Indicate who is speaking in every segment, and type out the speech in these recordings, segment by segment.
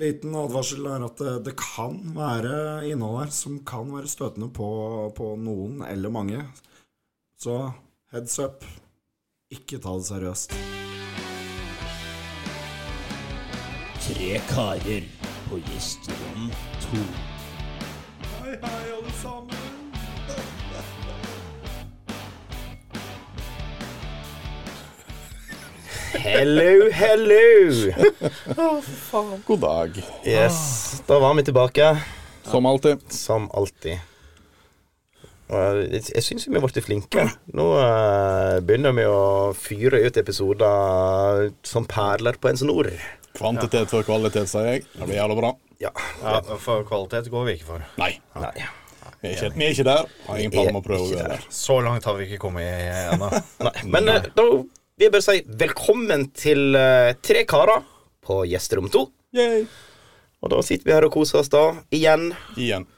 Speaker 1: Liten advarsel er at eh, det, det kan være innhold her som kan være støtende på, på noen eller mange. Så heads up. Ikke ta det seriøst.
Speaker 2: Tre karer på gjesterom to.
Speaker 1: Hei, hei, alle sammen.
Speaker 2: Hello, hello!
Speaker 3: God dag.
Speaker 2: Yes, da var vi tilbake,
Speaker 3: Som alltid.
Speaker 2: som alltid. Og Jeg, jeg syns vi har blitt flinke. Nå eh, begynner vi å fyre ut episoder som perler på en snor.
Speaker 3: Kvantitet for kvalitet, sier jeg. Det blir jævla bra.
Speaker 2: Ja.
Speaker 4: Ja, for kvalitet går vi ikke for.
Speaker 3: Nei,
Speaker 2: Nei.
Speaker 3: vi er ikke, vi er ikke der. Har ingen planer om å prøve å
Speaker 2: Ikke
Speaker 3: gjøre
Speaker 2: der.
Speaker 3: det.
Speaker 4: Så langt har vi ikke kommet i ennå.
Speaker 2: Nei. Men eh, da vil jeg bare si velkommen til eh, Tre karer på gjesterom to.
Speaker 3: Yay.
Speaker 2: Og da sitter vi her og koser oss da, igjen.
Speaker 3: Igjen.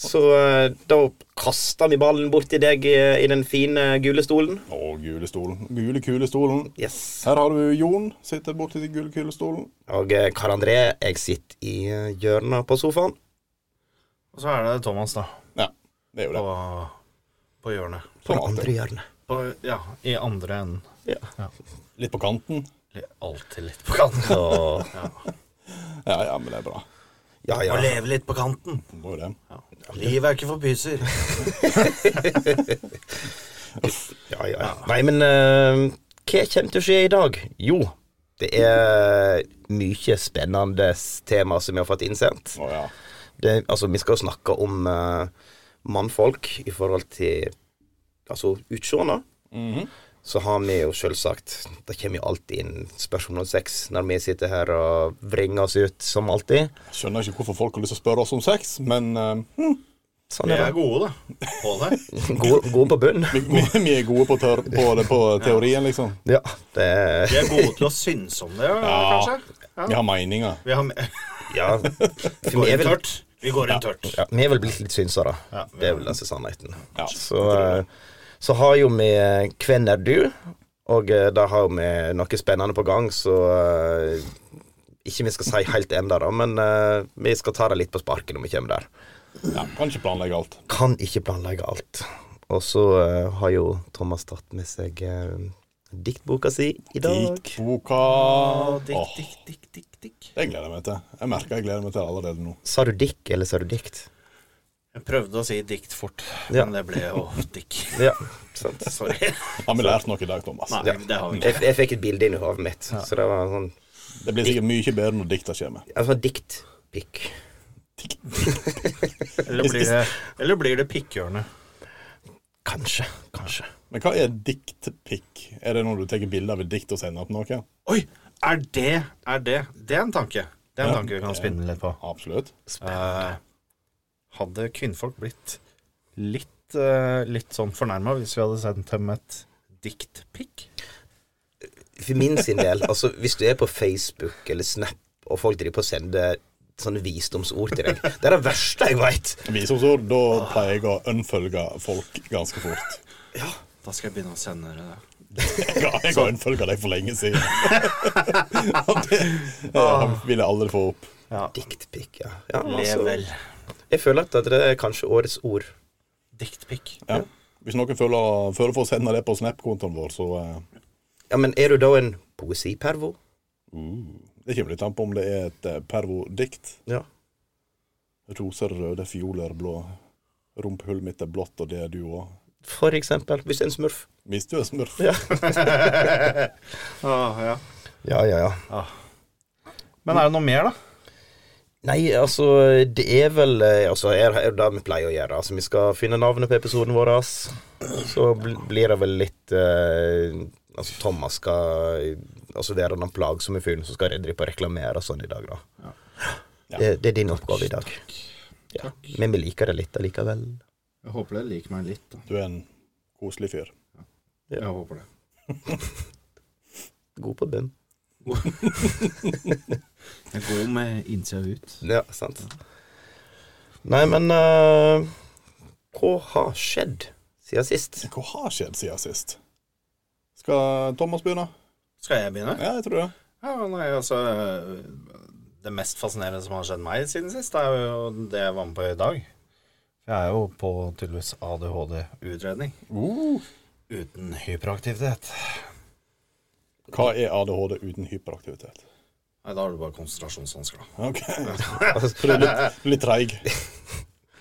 Speaker 2: Så eh, da kaster vi ballen bort til deg eh, i den fine gule stolen.
Speaker 3: Å, gule stolen. Gule kulestolen.
Speaker 2: Yes.
Speaker 3: Her har du Jon. Sitter borti den gule kulestolen.
Speaker 2: Og eh, Karl André, jeg sitter i eh, hjørnet på sofaen.
Speaker 4: Og så er det Thomas, da.
Speaker 3: Ja, det er jo
Speaker 4: På,
Speaker 3: det.
Speaker 4: på hjørnet.
Speaker 3: Som alltid.
Speaker 2: Andre hjørnet.
Speaker 4: På, ja, i andre enden.
Speaker 3: Litt på kanten.
Speaker 4: Li- Alltid litt på kanten.
Speaker 2: Og,
Speaker 3: Ja, ja, men det er bra.
Speaker 2: ja, ja.
Speaker 4: Å leve litt på kanten.
Speaker 3: Må jo det.
Speaker 4: Livet er ikke for pyser.
Speaker 2: ja, ja, ja. Nei, men eh, hva kommer til å skje i dag? Jo, det er mye spennende tema som vi har fått innsendt.
Speaker 3: Å ja.
Speaker 2: Det, altså, vi skal jo snakke om eh, mannfolk i forhold til altså, utseende. Så har vi jo selvsagt Det kommer jo alltid inn spørsmål om sex når vi sitter her og vrenger oss ut, som alltid.
Speaker 3: Skjønner ikke hvorfor folk har lyst til å spørre oss om sex, men eh,
Speaker 2: Sånn
Speaker 4: Vi
Speaker 2: er
Speaker 4: er
Speaker 2: det.
Speaker 4: gode, da. På det.
Speaker 2: Gå- Gå på bunnen.
Speaker 3: vi, vi, vi er gode på, tør, på, det, på teorien, liksom.
Speaker 2: Ja, det er
Speaker 4: Vi er gode til å synes om det, ja, kanskje.
Speaker 3: Vi har meninger.
Speaker 4: Vi, har, me-
Speaker 2: Ja. For
Speaker 4: går
Speaker 2: vi er
Speaker 4: inn
Speaker 2: vel,
Speaker 4: tørt. Vi går inn tørt.
Speaker 2: ja, vi er vel blitt litt synsere.
Speaker 4: Ja, vi
Speaker 2: Det er vel den sannheten.
Speaker 3: Ja.
Speaker 2: Så, eh, så har jo vi eh, 'Hvem er du?' og eh, der har vi noe spennende på gang, så eh, Ikke vi skal si helt enda da, men eh, vi skal ta det litt på sparket når vi kommer der.
Speaker 3: Ja, kan ikke planlegge alt.
Speaker 2: Kan ikke planlegge alt. Og så eh, har jo Thomas tatt med seg eh, diktboka si i dag.
Speaker 3: Diktboka. Åh,
Speaker 4: Dikk, dikk, dikk, dikk.
Speaker 3: det gleder jeg meg til. Jeg merker jeg gleder meg til det allerede nå.
Speaker 2: Sa du dikk, eller sa du dikt?
Speaker 4: Jeg prøvde å si dikt fort,
Speaker 2: Ja.
Speaker 4: men det ble jo dikk.
Speaker 2: Ja, sant.
Speaker 4: Sorry.
Speaker 3: Har vi lært noe i dag, Thomas?
Speaker 4: Nei,
Speaker 2: Ja.
Speaker 4: det har vi ikke.
Speaker 2: Jeg, jeg fikk et bilde inn i hodet mitt, så det var sånn
Speaker 3: Det blir sikkert mye bedre når dikta kommer.
Speaker 2: Altså diktpikk.
Speaker 4: Eller blir det, eller blir det pikkhjørnet?
Speaker 2: Kanskje, kanskje.
Speaker 3: Men hva er diktpikk? Er det når du tar bilde av et dikt og sender opp noe?
Speaker 4: Oi, er det Er det Det er en tanke. Det er en tanke vi kan spinne litt på.
Speaker 3: Absolutt.
Speaker 4: Eh, hadde kvinnfolk blitt litt, eh, litt sånn fornærma hvis vi hadde sendt dem et diktpikk?
Speaker 2: For min sin del, altså hvis du er på Facebook eller Snap, og folk driver på å sende sånne visdomsord til deg Det er det verste jeg veit.
Speaker 3: Visdomsord. Da pleier jeg å unfølge folk ganske fort.
Speaker 4: Da skal jeg begynne å sende dere det.
Speaker 3: Jeg har, jeg har unfølga deg for lenge siden. Og det eh,
Speaker 4: Ah.
Speaker 3: vil jeg aldri få opp.
Speaker 4: Ja.
Speaker 2: Diktpikk, ja. ja altså.
Speaker 4: Lev vel.
Speaker 2: jeg føler at det er kanskje årets ord.
Speaker 4: Diktpikk.
Speaker 3: Ja. Hvis noen føler, føler for å sende det på Snap-kontoen vår, så eh,
Speaker 2: Ja, Men er du da en poesipervo?
Speaker 3: uh, Det kommer litt an på om det er et eh, pervo-dikt.
Speaker 2: Ja.
Speaker 3: Roser røde, fioler blå. Rumpehullet mitt er blått, og det er du òg.
Speaker 2: For eksempel. Hvis du er en smurf.
Speaker 3: Visste du er smurf?
Speaker 2: Ja.
Speaker 4: Ah, ja.
Speaker 2: ja, ja, ja.
Speaker 4: Men er det noe mer, da?
Speaker 2: Nei, altså, det er vel eh, Altså, er, er det vi pleier å gjøre. Altså, Vi skal finne navnet på episoden vår. ass. Så bl blir det vel litt eh, Altså, Thomas skal eh, Altså, være den plagsomme fyren som skal drive på å reklamere og sånn i dag, da.
Speaker 3: Ja.
Speaker 2: Det, det er din oppgave i dag. Ja. Men vi liker det litt allikevel.
Speaker 4: Jeg håper dere liker meg litt, da.
Speaker 3: Du er en koselig fyr.
Speaker 4: Jeg håper det.
Speaker 2: God på bunn.
Speaker 4: Jeg går jo med innsida ut.
Speaker 2: Ja, sant. Nei, men eh, Hva har skjedd siden sist?
Speaker 3: Hva har skjedd siden sist? Skal Thomas begynne?
Speaker 4: Skal jeg begynne?
Speaker 3: Ja, jeg tror det.
Speaker 4: Ja, nei, altså det mest fascinerende som har skjedd meg siden sist, er jo det jeg var med på i dag. For jeg er jo på tydeligvis ADHD-utredning.
Speaker 3: Uh.
Speaker 4: Uten hyperaktivitet.
Speaker 3: Hva er ADHD uten hyperaktivitet?
Speaker 4: Nei, da har du bare konsentrasjonsvansker, da.
Speaker 3: Ok. For du Altså, er litt, litt treig.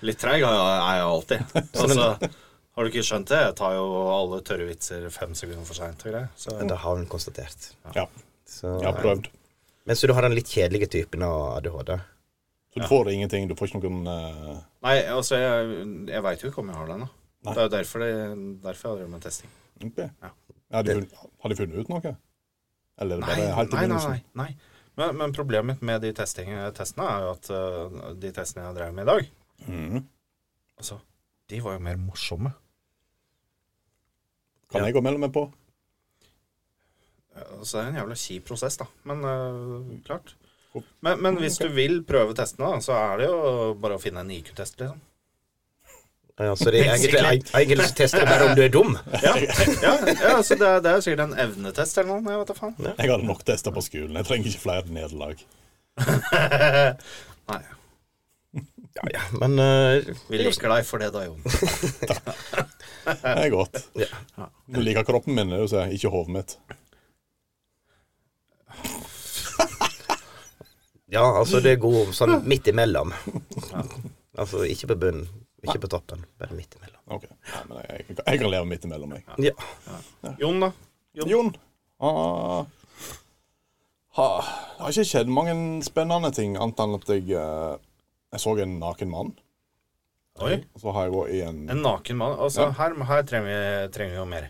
Speaker 4: Litt treig er jeg er jeg alltid. Altså, har du ikke skjønt det? Jeg tar jo alle tørre vitser fem sekunder for seint og greier. Så
Speaker 2: Det har hun konstatert.
Speaker 3: Ja.
Speaker 2: Så,
Speaker 3: Jeg har prøvd.
Speaker 2: Men så du har den litt kjedelige typen av ADHD?
Speaker 3: Så du får ingenting. Du får ikke noen eh,
Speaker 4: Nei, altså, jeg, jeg veit jo ikke om jeg har det ennå.
Speaker 3: Nei.
Speaker 4: Det er jo derfor, det, derfor jeg har drevet med testing.
Speaker 3: Ok.
Speaker 4: Ja.
Speaker 3: Har de funnet, har de funnet ut noe? Eller er det
Speaker 4: Nei,
Speaker 3: bare helt i
Speaker 4: nei, nei,
Speaker 3: begynnelsen?
Speaker 4: nei, nei. Men, men problemet mitt med de testing, testene er jo at øh, de testene jeg drev med i dag,
Speaker 3: Mhm.
Speaker 4: altså, de var jo mer morsomme.
Speaker 3: Kan jeg gå mellom meg på?
Speaker 4: Så det er en jævla kjip prosess, da. Men øh, klart.
Speaker 3: Opp.
Speaker 4: Men, men hvis du vil prøve testene, da, så er det jo bare å finne en IQ-test, liksom.
Speaker 2: Ja, så det er egentlig, eg- egentlig så tester det bare om du er dum.
Speaker 4: Ja, ja, ja så det, er- det er jo sikkert en evnetest eller noe. Jeg vet da faen.
Speaker 3: Jeg hadde nok tester på skolen. Jeg trenger ikke flere nederlag.
Speaker 4: Nei.
Speaker 2: Ja, ja, men eh,
Speaker 4: Vi liker deg for det, da, Jon.
Speaker 3: Det er godt.
Speaker 2: Ja.
Speaker 3: Du liker kroppen min, er det du sier, ikke hodet mitt.
Speaker 2: Ja, altså det er god sånn midt imellom. Altså ikke på bunnen, ikke på toppen, bare midt imellom.
Speaker 3: Ok, Nei, men jeg, jeg, jeg kan leve midt imellom, jeg.
Speaker 2: Ja.
Speaker 4: Jon, da?
Speaker 3: Jon? Ah, ah, det har ikke skjedd mange spennende ting, annet enn at jeg, eh, jeg så en naken mann.
Speaker 4: Oi.
Speaker 3: Og så har jeg vært i en
Speaker 4: En naken mann. Altså,
Speaker 3: Ja.
Speaker 4: her, her trenger, vi, trenger vi jo mer.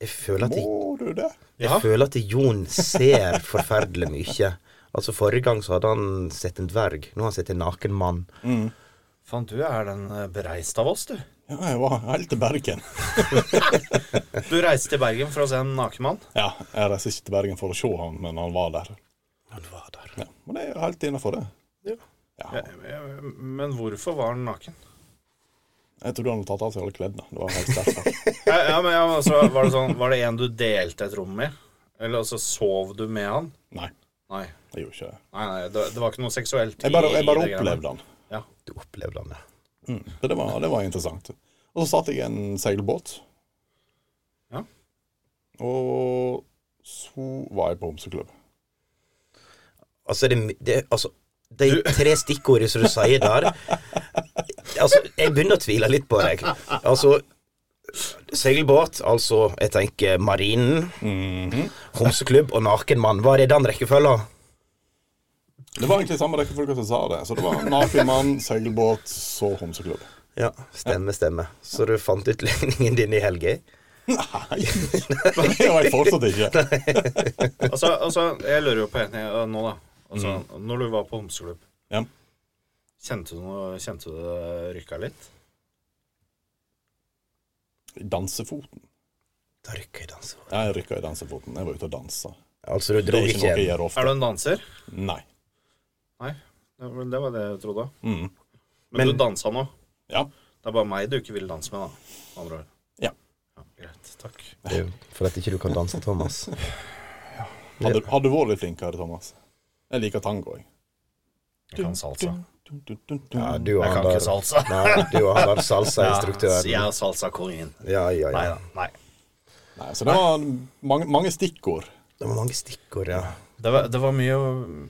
Speaker 2: Jeg føler at,
Speaker 3: Må du det?
Speaker 4: Ja.
Speaker 2: jeg føler at Jon ser forferdelig mye. Altså Forrige gang så hadde han sett en dverg, nå har han sett en naken mann.
Speaker 4: Faen, du er den eh, bereiste av oss, du.
Speaker 3: Ja, jeg var helt til Bergen.
Speaker 4: Du reiste til Bergen for å se en naken mann?
Speaker 3: Ja, jeg reiser ikke til Bergen for å se han, men han var der.
Speaker 2: Han var der.
Speaker 3: Ja, men det er helt innafor, det. Ja.
Speaker 4: Eh, Men hvorfor var han naken?
Speaker 3: Jeg trodde han hadde tatt av seg alle klærne. Det var helt sterkt.
Speaker 4: Ja, ja, men ja, altså, var, det sånn, var det en du delte et rom med? Eller altså, sov du med han?
Speaker 3: Nei,
Speaker 4: Nei,
Speaker 3: jeg gjorde ikke det.
Speaker 4: nei, nei det, det var ikke noe seksuelt.
Speaker 3: Jeg bare,
Speaker 4: i-
Speaker 3: jeg bare
Speaker 4: i det greiene.
Speaker 3: opplevde han. Mm.
Speaker 4: Ja.
Speaker 2: Du opplevde han det.
Speaker 3: Så det var, det var interessant. Og så satt jeg i en seilbåt.
Speaker 4: Ja.
Speaker 3: Og så var jeg på homseklubb.
Speaker 2: Altså, det, det, altså de tre stikkordene som du sier der Altså, jeg begynner å tvile litt på deg. Altså Seilbåt, altså jeg tenker marinen,
Speaker 3: Mhm.
Speaker 2: homseklubb og naken mann. Var det den rekkefølgen?
Speaker 3: Det var egentlig samme rekkefølge som jeg sa det. Så det var naken mann, seilbåt, så homseklubb.
Speaker 2: Ja, stemme, stemme. Så du fant ut legningen din i eh? helga?
Speaker 3: Nei! Det var jeg fortsatt ikke.
Speaker 4: Altså, altså, jeg lurer jo på en ting eh, nå, da. Altså, Når du var på homseklubb,
Speaker 3: Ja.
Speaker 4: kjente du, noe, kjente du det rykka litt?
Speaker 3: Dansefoten.
Speaker 2: Da rykker jeg dansen.
Speaker 3: Ja, jeg rykka i dansefoten. Jeg var ute og dansa.
Speaker 2: Altså, du
Speaker 3: Det
Speaker 2: dro
Speaker 3: er ikke
Speaker 2: ikke
Speaker 3: noe jeg
Speaker 2: hjem.
Speaker 3: gjør
Speaker 4: Er
Speaker 3: ofte.
Speaker 4: du en danser?
Speaker 3: Nei.
Speaker 4: Nei, det var- det var det jeg trodde.
Speaker 3: Mm.
Speaker 4: Men,
Speaker 2: Men-
Speaker 4: du dansa nå.
Speaker 3: Ja.
Speaker 4: Det er bare meg du ikke vil danse med, da. med Andre ord.
Speaker 3: Ja.
Speaker 4: ja. Greit. Takk.
Speaker 2: Det er jo For at ikke du kan danse, Thomas.
Speaker 3: Hadde, hadde vært litt flinkere, Thomas. Jeg liker tango, jeg.
Speaker 4: Jeg kan salsa.
Speaker 3: Dun, dun, dun, dun.
Speaker 2: Ja, du og
Speaker 4: Jeg
Speaker 2: han
Speaker 4: kan ikke
Speaker 2: der.
Speaker 4: salsa.
Speaker 2: Nei, du og han der
Speaker 4: Ja,
Speaker 2: salsainstruktøren.
Speaker 4: jeg er salsa-kongen.
Speaker 2: Ja, ja,
Speaker 4: Nei
Speaker 2: ja.
Speaker 4: da. Nei.
Speaker 3: Nei, så det var mange, mange stikkord.
Speaker 2: Det var mange stikkord, ja.
Speaker 4: Det var, det var mye å-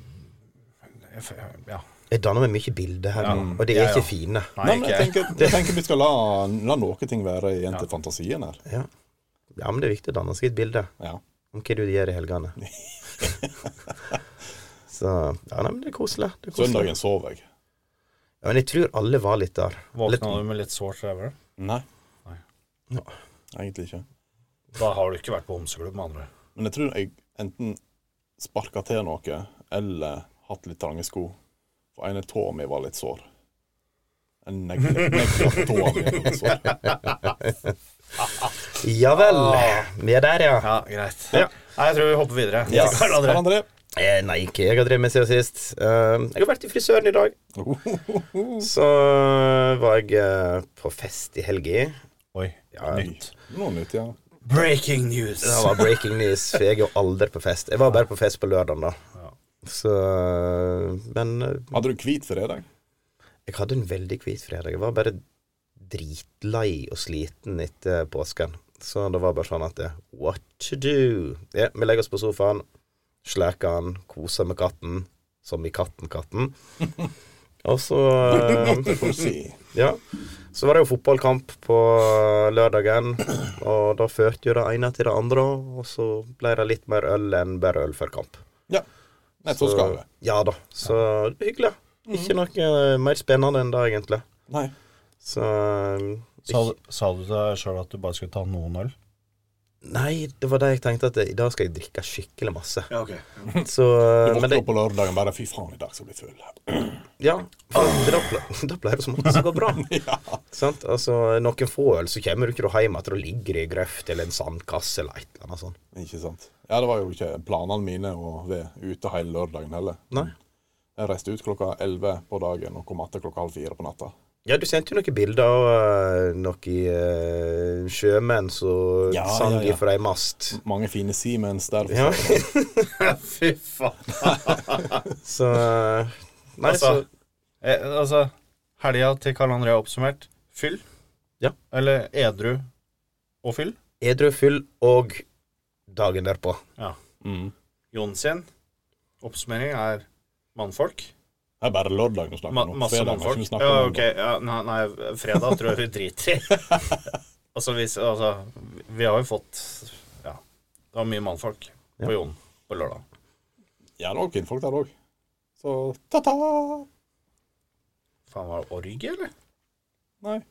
Speaker 4: Jeg f- Ja.
Speaker 2: Jeg danner meg mye bilder her, nå, og de er
Speaker 4: Ja, ja.
Speaker 2: ikke fine.
Speaker 4: Nei,
Speaker 3: Nei, men
Speaker 4: ikke
Speaker 3: jeg
Speaker 4: jeg.
Speaker 3: tenker, jeg tenker vi skal la, la noen ting være igjen til fantasien her.
Speaker 2: Ja. ja, men det er viktig å danne seg et bilde
Speaker 3: Ja.
Speaker 2: om hva du gjør i helgene. Så Ja, nei, men det er koselig. Det er koselig.
Speaker 3: Søndagen sov jeg.
Speaker 2: Ja, men jeg tror alle var litt der. Litt,
Speaker 4: Våkna du med litt sårt revle?
Speaker 3: Nei.
Speaker 4: Nei.
Speaker 2: Ja.
Speaker 3: Egentlig ikke.
Speaker 4: Da har du ikke vært på homseklubb, med andre ord.
Speaker 3: Men jeg tror jeg enten sparka til noe, eller hatt litt trange sko. For ene tåa mi var litt sår. En negle- negletåa mi var litt sår.
Speaker 2: ja vel.
Speaker 4: Ah.
Speaker 2: Vi er der, ja.
Speaker 4: Ja, greit.
Speaker 2: Ja.
Speaker 4: Nei, jeg tror vi hopper videre.
Speaker 2: Ja.
Speaker 4: Karl André.
Speaker 3: Karl André.
Speaker 2: Eh, nei, ikke jeg har drevet med siden sist. Eh, jeg har vært i frisøren i dag. Så var jeg eh, på fest i helga.
Speaker 4: Oi.
Speaker 2: Ja,
Speaker 4: Nytt.
Speaker 3: Noe nytt, ja.
Speaker 4: Breaking news.
Speaker 2: Det var breaking news, for jeg er jo aldri på fest. Jeg var bare på fest på lørdag, da. Så Men eh,
Speaker 3: Hadde du hvit fredag?
Speaker 2: jeg hadde en veldig hvit fredag. Jeg var bare dritlei og sliten etter påsken. Så det var bare sånn at eh, What to do? Ja, vi legger oss på sofaen, sleker han, koser med katten, som i Katten-katten. Og så eh,
Speaker 3: Det får du si.
Speaker 2: Ja. Så var det jo fotballkamp på lørdagen, og da førte jo det ene til det andre. Og så ble det litt mer øl enn bare øl før kamp.
Speaker 3: Ja. Nei, så skal det.
Speaker 2: Ja da. Så hyggelig. Ikke noe eh, mer spennende enn det, egentlig.
Speaker 3: Nei.
Speaker 2: Så um,
Speaker 4: Sa, sa du deg sjøl at du bare skulle ta noen øl?
Speaker 2: Nei, det var det jeg tenkte, at i dag skal jeg drikke skikkelig masse.
Speaker 4: Ja, ok.
Speaker 2: Så uh,
Speaker 3: Du
Speaker 2: men
Speaker 3: våkner
Speaker 2: det,
Speaker 3: opp på lørdagen bare 'fy faen, i dag skal jeg bli full'.
Speaker 2: Ja. for Da ble- da pleier det som at det går bra.
Speaker 3: Ja.
Speaker 2: Sant? Altså, noen få øl, så kommer du ikke hjem etter å ligge i grøft eller en sandkasse eller et eller annet sånt.
Speaker 3: Ikke sant. Ja, det var jo ikke planene mine å være ute hele lørdagen heller.
Speaker 2: Nei.
Speaker 3: Jeg reiste ut klokka 11 på dagen og kom tilbake klokka halv fire på natta.
Speaker 2: Ja, du sendte jo noen bilder av eh, noen eh, sjømenn som
Speaker 3: Ja,
Speaker 2: sang
Speaker 3: ja, Mm. ja.
Speaker 2: ifra ei mast.
Speaker 3: Mange fine Siemens der.
Speaker 2: Ja,
Speaker 4: Fy faen.
Speaker 2: så eh, Nei,
Speaker 4: Altså, eh, altså helga til Karl André er oppsummert. Fyll.
Speaker 2: Ja.
Speaker 4: Eller edru og fyll.
Speaker 2: så edru, full og dagen derpå.
Speaker 3: Mm.
Speaker 4: Jon sin oppsummering er mannfolk.
Speaker 3: Det er bare lørdagen vi
Speaker 4: Ma
Speaker 3: snakker om.
Speaker 4: masse
Speaker 3: Fredagen skal
Speaker 4: mannfolk.
Speaker 3: vi snakke
Speaker 4: Ja,
Speaker 3: om.
Speaker 4: ok. Ja, nei, nei, fredag tror jeg vi driter i. altså, hvis, altså, vi har jo fått Ja, det var mye mannfolk
Speaker 2: Ja.
Speaker 4: på Jon på lørdag.
Speaker 3: Ja, det var kvinnfolk der òg. Så ta-ta!
Speaker 4: Faen, var det orgie, eller?
Speaker 3: Nei.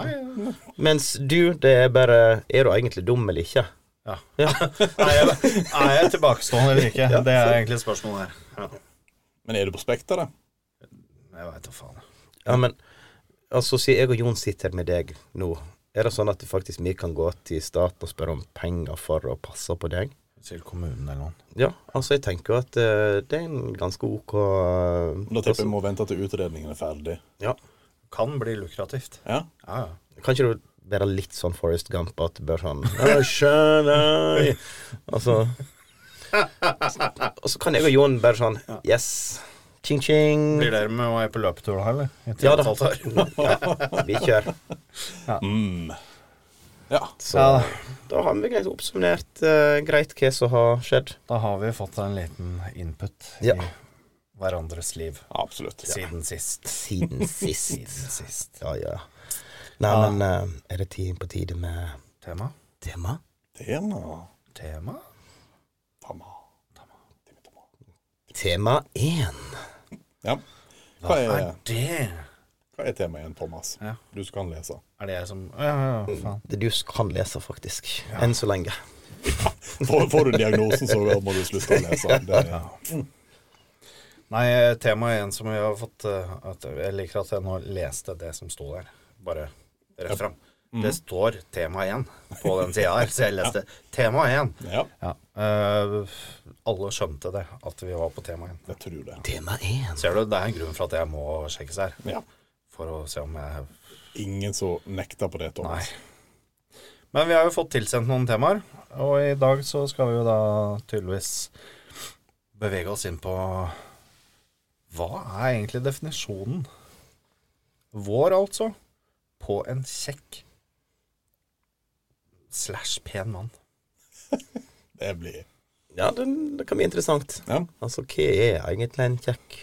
Speaker 4: Nei, ja.
Speaker 2: Mens du, det er bare Er du egentlig dum eller ikke?
Speaker 4: er jeg, er jeg tilbakestående eller ikke? Det er egentlig spørsmålet her. Ja.
Speaker 3: Men er du på Spekteret?
Speaker 4: Jeg veit da faen.
Speaker 2: Ja, men altså, siden jeg og Jon sitter med deg nå, er det sånn at det faktisk vi kan gå til staten og spørre om penger for å passe på deg?
Speaker 4: Til kommunen eller noe.
Speaker 2: Ja, altså, jeg tenker jo at eh, det er en ganske ok eh,
Speaker 3: Da tipper jeg vi må vente til utredningen er ferdig.
Speaker 2: Ja.
Speaker 4: Kan bli lukrativt.
Speaker 3: Ja?
Speaker 4: Ja, ja.
Speaker 2: Kan ikke du være litt sånn Forest Gump at du bare sånn «Jeg skjønner». Altså Og så kan jeg og Jon bare sånn Yes. Ching-ching.
Speaker 4: Blir dere med å være på løpetur da, eller? Etter
Speaker 2: Ja da.
Speaker 4: alt her.
Speaker 2: Vi kjører.
Speaker 3: Mm. Ja.
Speaker 2: Så da har vi greit oppsummert eh, greit hva som har skjedd.
Speaker 4: Da har vi fått en liten input
Speaker 2: Ja.
Speaker 4: i hverandres liv
Speaker 3: Absolutt.
Speaker 4: siden sist.
Speaker 2: Siden sist.
Speaker 4: Siden sist.
Speaker 2: Ja, ja. Nei, men eh, er det tid på tide med
Speaker 4: Tema?
Speaker 2: tema?
Speaker 3: Tema.
Speaker 4: Tema?
Speaker 3: Tama. Tama. Tama.
Speaker 2: Tema én.
Speaker 3: Ja. Hva
Speaker 4: Hva
Speaker 3: er,
Speaker 4: er det?
Speaker 3: hva er temaet igjen, Thomas?
Speaker 4: Ja.
Speaker 3: Du som kan lese.
Speaker 4: Er det jeg som Ja, ja, ja, faen.
Speaker 2: Det du kan lese, faktisk. Enn så lenge.
Speaker 3: Får, får du diagnosen, så må du slutte å lese. Det,
Speaker 4: Nei, temaet er en som vi har fått eh, at, Jeg liker at jeg nå leste det som sto der. Bare rett fram. Det står tema én på den sida her, så jeg leste tema én.
Speaker 3: ja,
Speaker 4: Ja. eh, alle skjønte det, at vi var på tema én.
Speaker 3: jeg tror det.
Speaker 2: Tema én.
Speaker 4: Ser du, det er en grunn for at jeg må sjekkes her.
Speaker 3: Ja.
Speaker 4: For å se om jeg
Speaker 3: Ingen som nekter på det,
Speaker 4: Nei.
Speaker 3: Thomas.
Speaker 4: Men vi har jo fått tilsendt noen temaer, og i dag så skal vi jo da tydeligvis bevege oss inn på Hva er egentlig definisjonen? Vår, altså, på en kjekk slash pen mann.
Speaker 3: Det blir
Speaker 2: Ja, det, det kan bli interessant.
Speaker 3: ja.
Speaker 2: Altså, hva er egentlig en kjekk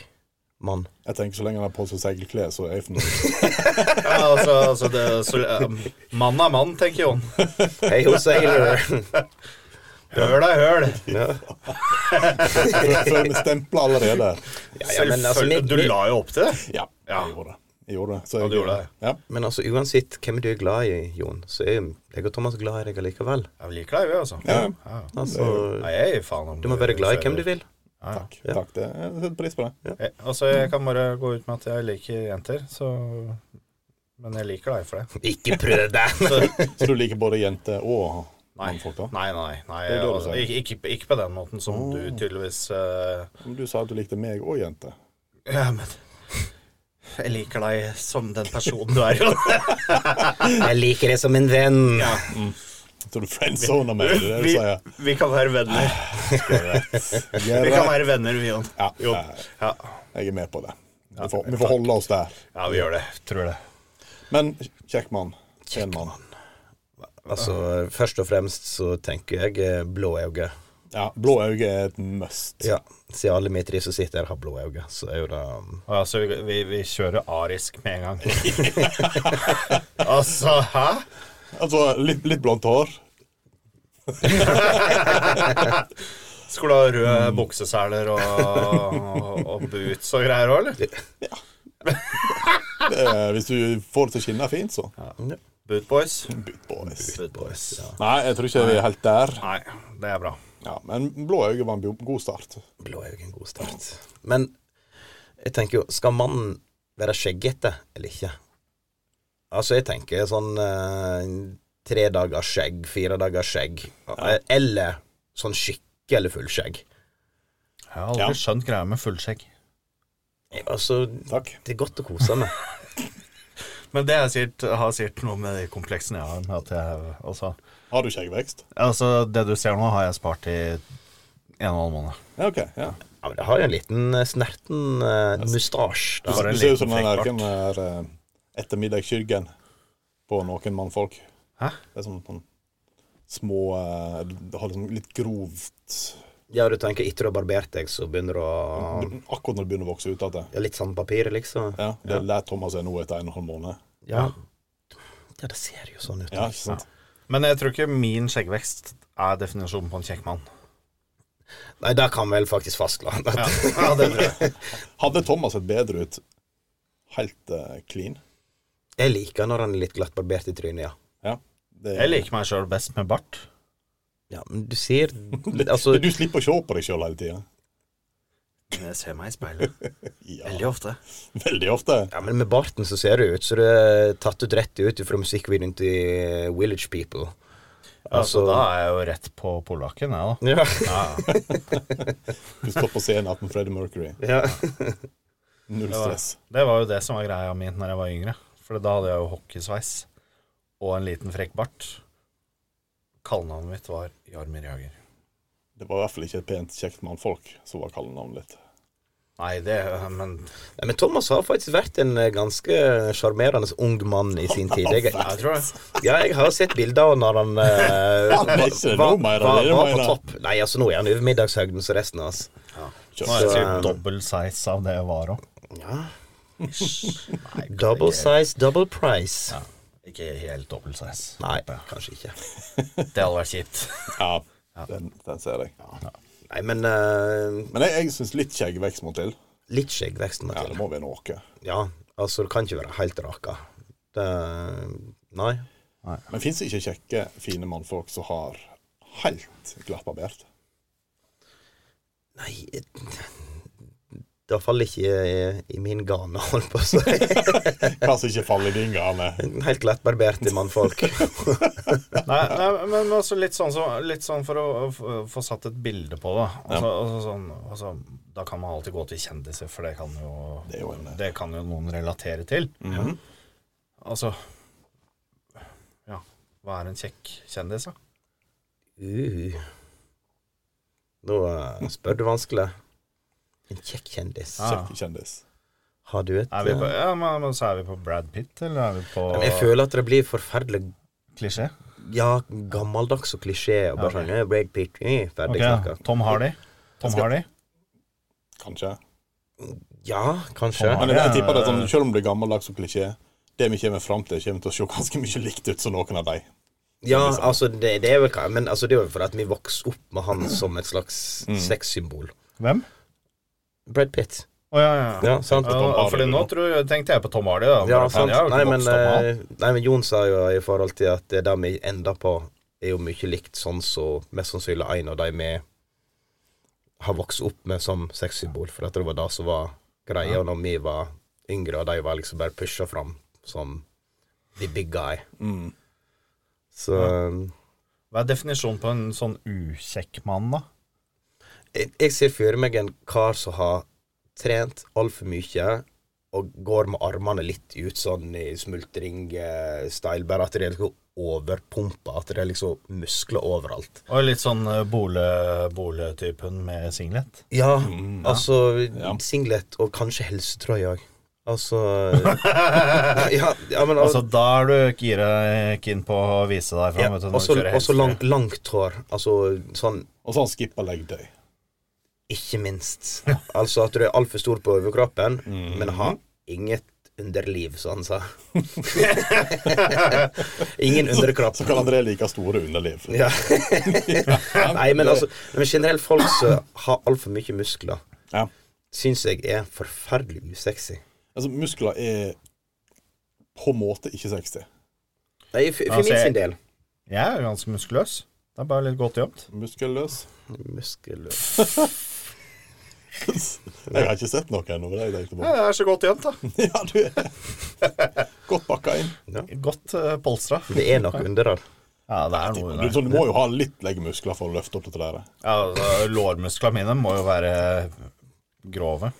Speaker 2: mann?
Speaker 3: Jeg tenker så lenge han har på seg seilklær, så er jeg fornøyd.
Speaker 4: Ja, altså, altså det, så, eh, Mann er mann, tenker Jon.
Speaker 2: Hei ho, sailor.
Speaker 4: Høl er høl.
Speaker 2: Ja.
Speaker 3: Før- Før vi stempler allerede.
Speaker 2: Ja, ja, men, altså,
Speaker 4: Selvfølgelig.
Speaker 2: vi-
Speaker 4: Du la jo opp til det.
Speaker 3: Ja,
Speaker 4: Ja.
Speaker 3: jeg gjorde det. Jeg gjorde det. Så
Speaker 4: Ja, du gjorde det.
Speaker 3: Ja.
Speaker 2: men altså, uansett hvem du er glad i, Jon, så er jo jeg og Thomas glad i deg allikevel.
Speaker 4: Jeg liker deg, vi, altså.
Speaker 3: Ja.
Speaker 2: Altså,
Speaker 4: Nei, jeg gir faen om
Speaker 2: du må være glad i hvem du vil.
Speaker 3: Takk. Takk. Det jeg setter pris på det.
Speaker 4: Jeg, altså, jeg kan bare gå ut med at jeg liker jenter, så Men jeg liker deg for det.
Speaker 2: Ikke prøv deg!
Speaker 3: Så du liker både jenter og
Speaker 4: Nei,
Speaker 3: mannfolk, da?
Speaker 4: nei, nei. nei
Speaker 3: Det er det du
Speaker 4: altså,
Speaker 3: sier.
Speaker 4: ikke, ikke, på- ikke på den måten som du tydeligvis eh,
Speaker 3: Men Du sa at du likte meg og jenter.
Speaker 4: Ja, men Jeg liker deg som den personen du er, jo.
Speaker 2: Jeg liker deg som en venn.
Speaker 4: Ja.
Speaker 3: Så du friendzona meg, det er det du
Speaker 4: Vi,
Speaker 3: sier?
Speaker 4: vi kan være venner. Vi kan være venner, vi, Jon.
Speaker 3: Ja,
Speaker 4: Jon. Ja.
Speaker 3: Jeg er med på det. Vi får, vi får holde oss der.
Speaker 4: ja, vi gjør det. Tror det.
Speaker 3: Men kjekk mann. Pen mann.
Speaker 2: Altså, først og fremst så tenker jeg eh, blå øyne.
Speaker 3: Ja, blå øyne er et must.
Speaker 2: Ja, siden alle vi tre som sitter her, har blå øyne, så er jo det um,
Speaker 4: Ja, så altså, vi, vi, vi kjører arisk med en gang. altså, hæ?
Speaker 3: Altså, litt, litt blondt hår.
Speaker 4: Skulle du ha røde bukseseler og, og, og boots og greier òg,
Speaker 2: eh,
Speaker 4: eller?
Speaker 3: Det er, hvis du får det til å skinne fint, så.
Speaker 2: ja.
Speaker 4: Boot boys.
Speaker 3: Boot boys.
Speaker 4: Boot boys.
Speaker 3: Nei, jeg tror ikke vi er helt der.
Speaker 4: Nei, det er bra.
Speaker 3: Ja, men blå øyne var en bo- god start.
Speaker 2: Blå øyne er en god start. Men jeg tenker jo, skal mannen være skjeggete eller ikke? Altså, jeg tenker sånn eh, tre dagers skjegg, fire dagers skjegg, eh, eller sånn skikkelig fullskjegg.
Speaker 4: Jeg har
Speaker 3: Ja.
Speaker 4: aldri skjønt greia med fullskjegg.
Speaker 2: Eh, Altså,
Speaker 3: Takk.
Speaker 2: det er godt å kose med.
Speaker 4: Men det er sikkert, har sikkert noe med de kompleksene jeg har. med At jeg, altså,
Speaker 3: Har du skjeggvekst?
Speaker 4: altså, det du ser nå, har jeg spart i en og en halv måned.
Speaker 3: Ja, OK. ja.
Speaker 2: Ja, men det har jo en liten eh, snerten eh, mustasje.
Speaker 3: Du,
Speaker 2: da.
Speaker 4: Bare en
Speaker 3: du ser
Speaker 4: liten
Speaker 3: ut som den der,
Speaker 4: flekkbart.
Speaker 3: den der eh, ettermiddagsskyggen på noen mannfolk.
Speaker 4: Hæ?
Speaker 3: Det er sånn, sånn små eh, Det har liksom litt grovt
Speaker 2: Ja, du tenker etter du har barbert deg, så begynner du å
Speaker 3: Akkurat når det begynner å vokse ut igjen.
Speaker 2: ja, Litt sandpapir, liksom.
Speaker 3: Ja, det er der Thomas er nå etter en og en halv måned.
Speaker 2: Ja. ja, det ser jo sånn ut.
Speaker 3: Ja, ikke sant?
Speaker 4: Men jeg tror ikke min skjeggvekst er definisjonen på en kjekk mann.
Speaker 2: Nei, det kan vel faktisk fastslå.
Speaker 4: Ja, ja, det tror jeg.
Speaker 3: Hadde Thomas sett bedre ut helt eh, clean?
Speaker 2: Jeg liker når han er litt glattbarbert i trynet, ja.
Speaker 3: Ja. Det,
Speaker 4: jeg liker meg sjøl best med bart.
Speaker 2: Ja, men du ser Altså,
Speaker 3: Du slipper å se på deg sjøl hele tida.
Speaker 4: Men jeg ser meg i speilet
Speaker 3: Ja,
Speaker 4: veldig ofte.
Speaker 3: veldig ofte.
Speaker 2: ja, men med barten så ser det ut som det er tatt ut rett ut fra musikkvideoen til Village People.
Speaker 4: Altså,
Speaker 2: Altså-
Speaker 4: da er jeg jo rett på polakken, jeg,
Speaker 2: Ja.
Speaker 4: da. Ja, ja.
Speaker 3: Du står på scenen med Freddie Mercury.
Speaker 2: ja.
Speaker 3: Null
Speaker 4: Det var-
Speaker 3: stress.
Speaker 4: Det var jo det som var greia mi når jeg var yngre. For da hadde jeg jo hockeysveis og en liten frekk bart. Kallenavnet mitt var Jarmir Jager.
Speaker 3: Det var i hvert fall ikke et pent, kjekt mannfolk som var kallenavnet ditt.
Speaker 4: Nei, det Men
Speaker 2: Nei, Men Thomas har faktisk vært en eh, ganske sjarmerende ung mann i sin tid. Jeg,
Speaker 4: jeg tror det.
Speaker 2: ja, jeg har sett bilder av når han eh,
Speaker 3: Han er ikke det
Speaker 2: var,
Speaker 3: nå,
Speaker 2: var,
Speaker 3: Meira,
Speaker 2: var,
Speaker 3: det er det
Speaker 2: på
Speaker 3: Meira.
Speaker 2: topp. Nei, altså nå er han over middagshøyden som resten av oss.
Speaker 4: Nå er jeg
Speaker 3: Kjøtt.
Speaker 4: sikkert dobbel size av det jeg var òg.
Speaker 2: Ja. Double size, double price.
Speaker 4: Ja. Ikke helt dobbel size.
Speaker 2: Nei, kanskje ikke.
Speaker 4: Det hadde vært kjipt.
Speaker 3: Ja, eh, den, den ser jeg.
Speaker 2: Nei, men eh,
Speaker 3: Men jeg, jeg syns litt skjeggvekst må til.
Speaker 2: litt skjeggvekst må
Speaker 3: Ja,
Speaker 2: til.
Speaker 3: det må være noe.
Speaker 2: Ja, altså det kan ikke være helt raka. Det, nei.
Speaker 3: Men fins det ikke kjekke, fine mannfolk som har helt glattbarbert?
Speaker 2: Nei jeg- Det faller ikke i, i min gane, holdt på å si.
Speaker 3: Hva som ikke faller i din gane?
Speaker 2: Helt glattbarberte mannfolk.
Speaker 4: Nei, nei men altså litt sånn, som- litt sånn for å f- få satt et bilde på det. Altså, altså, sånn, altså, da kan man alltid gå til kjendiser, for det kan jo,
Speaker 3: Det er jo en
Speaker 4: det kan jo noen relatere til.
Speaker 3: Mhm.
Speaker 4: Altså Ja, hva er en kjekk kjendis, da?
Speaker 2: Uh. Nå eh, spør du vanskelig. En kjekk kjendis.
Speaker 4: Ja.
Speaker 3: kjekk kjendis.
Speaker 2: Har du et
Speaker 4: Er vi på,
Speaker 2: eh,
Speaker 4: ja, men, men så er vi på Brad Pitt, eller er vi
Speaker 2: men Jeg
Speaker 4: på
Speaker 2: føler at det blir forferdelig
Speaker 4: klisjé?
Speaker 2: Ja, gammeldags og klisjé. Og bare
Speaker 4: Ja, ok.
Speaker 2: sånn eh, Brad Pitt, eh, ferdig
Speaker 4: Ok,
Speaker 2: snakka.
Speaker 4: Tom Hardy. Tom
Speaker 3: skal-
Speaker 4: Hardy.
Speaker 3: Kanskje.
Speaker 2: Ja, kanskje.
Speaker 4: Tom
Speaker 3: Men jeg, jeg
Speaker 4: det er-
Speaker 3: tipper det er sånn, selv om det er gammeldags og klisjé, det vi kommer fram til, kommer til å se ganske mye likt ut som noen av de.
Speaker 2: Ja, altså, det, det er vel hva Men altså, det er jo fordi at vi vokste opp med han som et slags
Speaker 4: Mm.
Speaker 2: sexsymbol.
Speaker 4: Hvem?
Speaker 2: Brad Pitt.
Speaker 4: Å ja, ja. ja.
Speaker 2: Ja, sant?
Speaker 3: Tom
Speaker 4: Ja,
Speaker 3: Hardy,
Speaker 4: fordi nå
Speaker 3: da.
Speaker 4: tror, jeg- tenkte jeg på Tom Hardy. Da.
Speaker 2: Ja,
Speaker 4: Brad Pitt,
Speaker 2: sant.
Speaker 4: jeg har jo
Speaker 2: Nei,
Speaker 4: ikke
Speaker 2: men,
Speaker 4: vokst opp med han.
Speaker 2: eh, nei, men Jon sa jo i forhold til at det der vi ender på, er jo mye likt sånn som mest sannsynlig en av de vi har vokst opp med som sexsymbol, for at det var det som var greia når vi var yngre, og de var liksom bare pusha fram som the big guy.
Speaker 3: Mm.
Speaker 2: Så um,
Speaker 4: Hva er definisjonen på en sånn ukjekk mann, da?
Speaker 2: jeg, jeg ser for meg en kar som har trent altfor mye, og går med armene litt ut sånn i smultring-style, bare at det er liksom overpumpa, at det er liksom muskler overalt.
Speaker 4: Og litt sånn eh, bole- bole-typen med singlet.
Speaker 2: Ja, altså singlet og kanskje helsetrøye òg. Altså ja, ja, men
Speaker 4: Altså, da er du gira keen på å vise deg
Speaker 2: ja,
Speaker 4: fram. vet du, når du
Speaker 2: også,
Speaker 4: sånn kjører
Speaker 2: også
Speaker 4: helsefri.
Speaker 2: langt, langt hår. Altså sånn
Speaker 3: Og så han skipper leg day.
Speaker 2: Ikke minst. Altså at du er altfor stor på overkroppen,
Speaker 3: Mhm.
Speaker 2: men har inget underliv, som han sa. Ingen underkropp.
Speaker 3: Så kan André like store underliv.
Speaker 2: Ja. Nei, men altså Men generelt folk som har altfor mye muskler,
Speaker 3: Ja.
Speaker 2: syns jeg er forferdelig usexy.
Speaker 3: Altså, muskler er på en måte ikke 60.
Speaker 2: Nei, for, for
Speaker 4: Altså,
Speaker 2: min
Speaker 4: jeg-
Speaker 2: sin del.
Speaker 4: Jeg er jo ganske muskuløs. Det er bare litt godt gjemt.
Speaker 3: Muskelløs.
Speaker 2: Muskelløs
Speaker 3: Jeg har ikke sett noe ennå. Det er jeg tenkte på.
Speaker 4: Ja, det er så godt gjemt, da.
Speaker 3: Ja, du er godt pakka inn.
Speaker 4: Godt uh, polstra.
Speaker 2: Det er nok under der.
Speaker 4: Ja, det er noe
Speaker 3: Du,
Speaker 4: der.
Speaker 3: så du må jo sånn- ha litt leggmuskler for å løfte opp dette der.
Speaker 4: Ja, altså, Lårmusklene mine må jo være grove.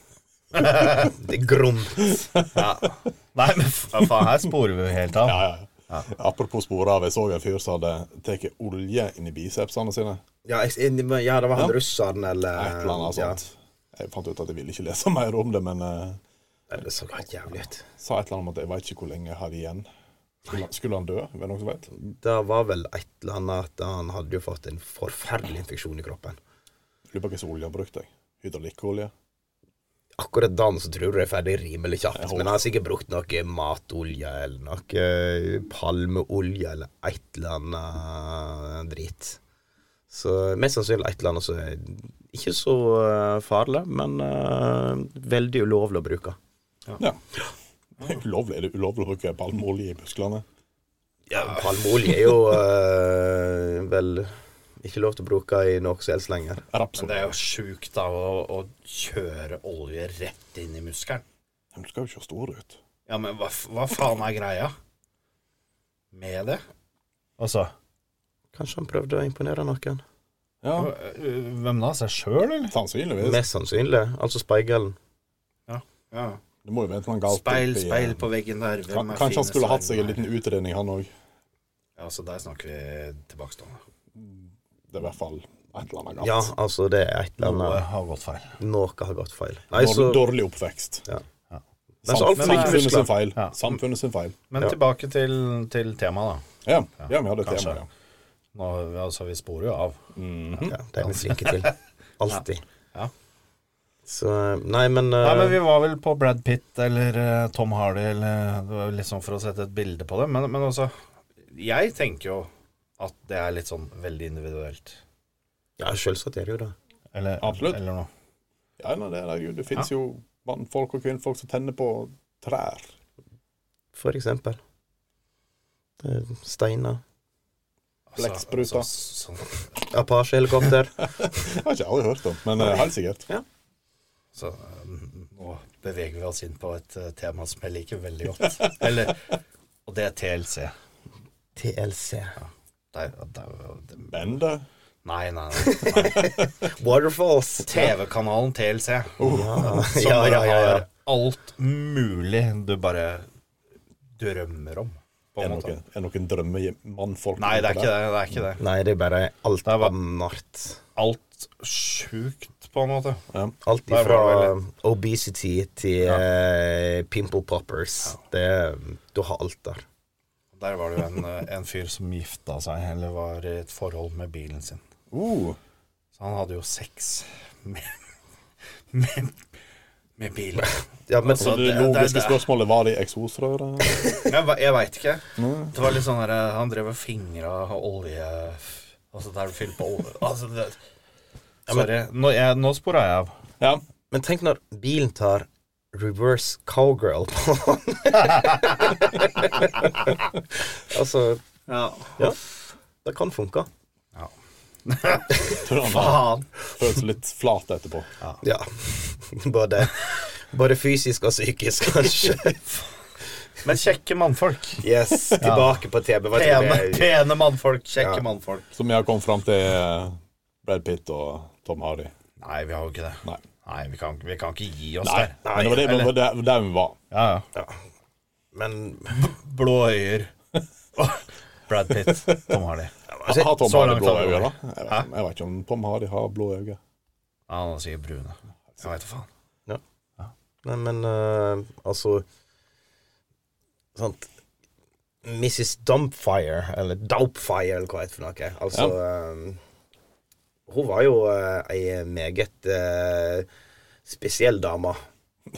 Speaker 2: Det er grumt.
Speaker 4: Ja. Nei, men f- ja, faen, her sporer vi jo helt av.
Speaker 3: Ja, ja, ja. Apropos spore av, jeg så jo en fyr som hadde tatt olje inn i bicepsene sine.
Speaker 2: Ja, jeg, ja, det var han
Speaker 3: Ja.
Speaker 2: russeren, eller
Speaker 3: Et eller
Speaker 2: Eh,
Speaker 3: annet sånt. Jeg fant ut at jeg ville ikke lese mer om det, men eh,
Speaker 2: Ja, det så helt jævlig ut.
Speaker 3: sa et eller annet om at jeg veit ikke hvor lenge jeg har igjen. Skulle, skulle han dø? Er det noen som vet?
Speaker 2: Det var vel et eller annet at han hadde jo fått en forferdelig infeksjon i kroppen.
Speaker 3: Lurer på hva slags olje han brukte. jeg. Hydraulikkolje.
Speaker 2: Akkurat da så tror du det er ferdig rimelig
Speaker 3: Jeg
Speaker 2: kjapt,
Speaker 3: håper.
Speaker 2: men han har sikkert brukt noe matolje eller noe eh, palmeolje eller et eller annet drit. Så mest sannsynlig et eller annet som er ikke så eh, farlig, men eh, veldig ulovlig å bruke.
Speaker 3: Ja. Det er ulovlig. Er det ulovlig å bruke palmeolje i musklene?
Speaker 2: Ja, palmeolje er jo eh, vel ikke lov til å bruke i noe som helst lenger.
Speaker 4: Men
Speaker 3: Rapsolje.
Speaker 4: det er jo sjukt da å, å kjøre olje rett inn i muskelen.
Speaker 3: Men Du skal jo ikke se stor ut.
Speaker 4: Ja, men hva, f- hva faen er greia med det? Altså
Speaker 2: Kanskje han prøvde å imponere noen.
Speaker 3: Ja,
Speaker 4: eh, Hvem da? Seg sjøl, eller?
Speaker 3: sannsynligvis.
Speaker 2: Mest sannsynlig. Altså speilen.
Speaker 4: Ja.
Speaker 3: Det må jo være et eller annet galt.
Speaker 4: Speil,
Speaker 3: oppi, eh,
Speaker 4: speil på veggen der. Hvem
Speaker 3: kan-
Speaker 4: er
Speaker 3: Kanskje han
Speaker 4: finest
Speaker 3: skulle hatt
Speaker 4: her?
Speaker 3: seg en liten utredning, han òg.
Speaker 4: Ja, så der snakker vi tilbakestående.
Speaker 3: Det er i hvert fall et eller annet galt.
Speaker 2: Ja, altså, det er et eller annet
Speaker 4: har gått feil.
Speaker 2: Noe har gått feil. Nei,
Speaker 3: Dår-
Speaker 2: så
Speaker 3: Dårlig oppvekst.
Speaker 2: Ja.
Speaker 4: Ja.
Speaker 2: Men så alt for mye
Speaker 3: samfunnet
Speaker 2: muskler.
Speaker 3: sin feil.
Speaker 4: Ja.
Speaker 3: Samfunnet sin feil.
Speaker 4: Men
Speaker 2: Ja.
Speaker 4: tilbake til, til temaet, da.
Speaker 3: Ja, ja vi hadde et
Speaker 4: Kanskje.
Speaker 3: tema, ja. Mhm.
Speaker 4: Nå, altså, vi sporer jo av.
Speaker 2: Ja, det er vi flinke til. Alltid.
Speaker 4: Ja.
Speaker 2: Så Nei, men,
Speaker 4: Nei, men
Speaker 2: eh,
Speaker 4: Vi var vel på Brad Pitt eller eh, Tom Hardy, eller det var jo litt sånn for å sette et bilde på det. Men, men også Jeg tenker jo at det er litt sånn veldig individuelt.
Speaker 2: Ja, selvsagt er det jo det.
Speaker 4: Eller,
Speaker 3: Absolutt.
Speaker 4: Eller noe.
Speaker 3: Ja, nei, det, er jo- det finnes jo mannfolk og kvinnfolk som tenner på trær.
Speaker 2: For eksempel. Eh, Det er Steiner.
Speaker 3: Blekkspruta.
Speaker 4: Altså, så,
Speaker 2: Apache-helikopter.
Speaker 3: Jeg har ikke aldri hørt om, men eh, helt sikkert.
Speaker 4: så, så, eh, nå beveger vi oss inn på et eh, tema som jeg liker veldig godt. Eller, og det er TLC.
Speaker 2: TLC.
Speaker 4: Det, er- det, er- det,
Speaker 3: Bende.
Speaker 4: nei, nei, nei. nei.
Speaker 2: Waterfalls.
Speaker 4: TV-kanalen TLC.
Speaker 2: Ja,
Speaker 4: Som
Speaker 2: ja, ja. ja, ja.
Speaker 4: har alt mulig du bare drømmer om, på
Speaker 3: Er
Speaker 4: en
Speaker 3: det
Speaker 4: måte.
Speaker 3: noen, er det noen drømmemannfolk?
Speaker 4: Nei, det er ikke det. det, er ikke det.
Speaker 2: Nei, det er bare alt
Speaker 4: er bare-
Speaker 2: annet.
Speaker 4: Alt sjukt, på en måte.
Speaker 3: Ja.
Speaker 2: Alt
Speaker 4: Der var det
Speaker 2: fra obesity til eh, pimple poppers. Det, er- du har alt der.
Speaker 4: Der var det jo en, eh, en fyr som gifta seg, eller var i et forhold med bilen sin.
Speaker 3: Uh,
Speaker 4: Så han hadde jo sex med, med, med bilen.
Speaker 2: Ja, men
Speaker 3: så
Speaker 4: Altså,
Speaker 3: det
Speaker 4: det-
Speaker 3: logiske
Speaker 4: det- det-
Speaker 3: spørsmålet var det i eksosrøret?
Speaker 4: Jeg, ve- jeg veit ikke.
Speaker 2: Mm.
Speaker 4: Det var litt sånn der, eh, Han drev og fingra olje Altså, der du fyller på olje altså, det, Sorry. Nå, jeg- nå spora jeg av.
Speaker 3: Ja.
Speaker 2: Men tenk når bilen tar reverse cowgirl på han. altså, ja. Det kan funke.
Speaker 4: Ja.
Speaker 3: Tror han har
Speaker 4: Faen!
Speaker 3: følt seg litt flat etterpå.
Speaker 2: Ja. Både, både fysisk og psykisk, kanskje.
Speaker 4: Men kjekke mannfolk.
Speaker 2: Yes, tilbake på TB. Hva tror
Speaker 4: Pene,
Speaker 2: jeg?
Speaker 4: pene mannfolk. Kjekke
Speaker 2: Ja.
Speaker 4: mannfolk.
Speaker 3: Som jeg har kommet fram til eh, Brad Pitt og Tom Hardy.
Speaker 4: Nei, vi har jo ikke det.
Speaker 3: Nei.
Speaker 4: Nei, vi kan, vi kan ikke gi oss
Speaker 3: Nei,
Speaker 4: der.
Speaker 3: men det var det, det var der, der vi var.
Speaker 4: Ja, ja.
Speaker 2: Ja. Men
Speaker 4: Blå øyer. Brad Pitt. Tom Hardy.
Speaker 2: Altså,
Speaker 3: har Tom
Speaker 4: så
Speaker 3: Hardy
Speaker 4: langt
Speaker 3: blå
Speaker 4: har vi
Speaker 3: øyne, da?
Speaker 4: vært.
Speaker 3: Jeg vet, ikke- jeg vet ikke om Tom Hardy har blå øyne.
Speaker 4: Ja, han er sikkert brune. Jeg veit da faen.
Speaker 2: Nei, men eh, altså Sant Mrs. Dumpfire, eller Dopefire, eller hva det heter for noe. Altså eh, Hun var jo eh, ei meget eh, spesiell dame,
Speaker 4: Sånn?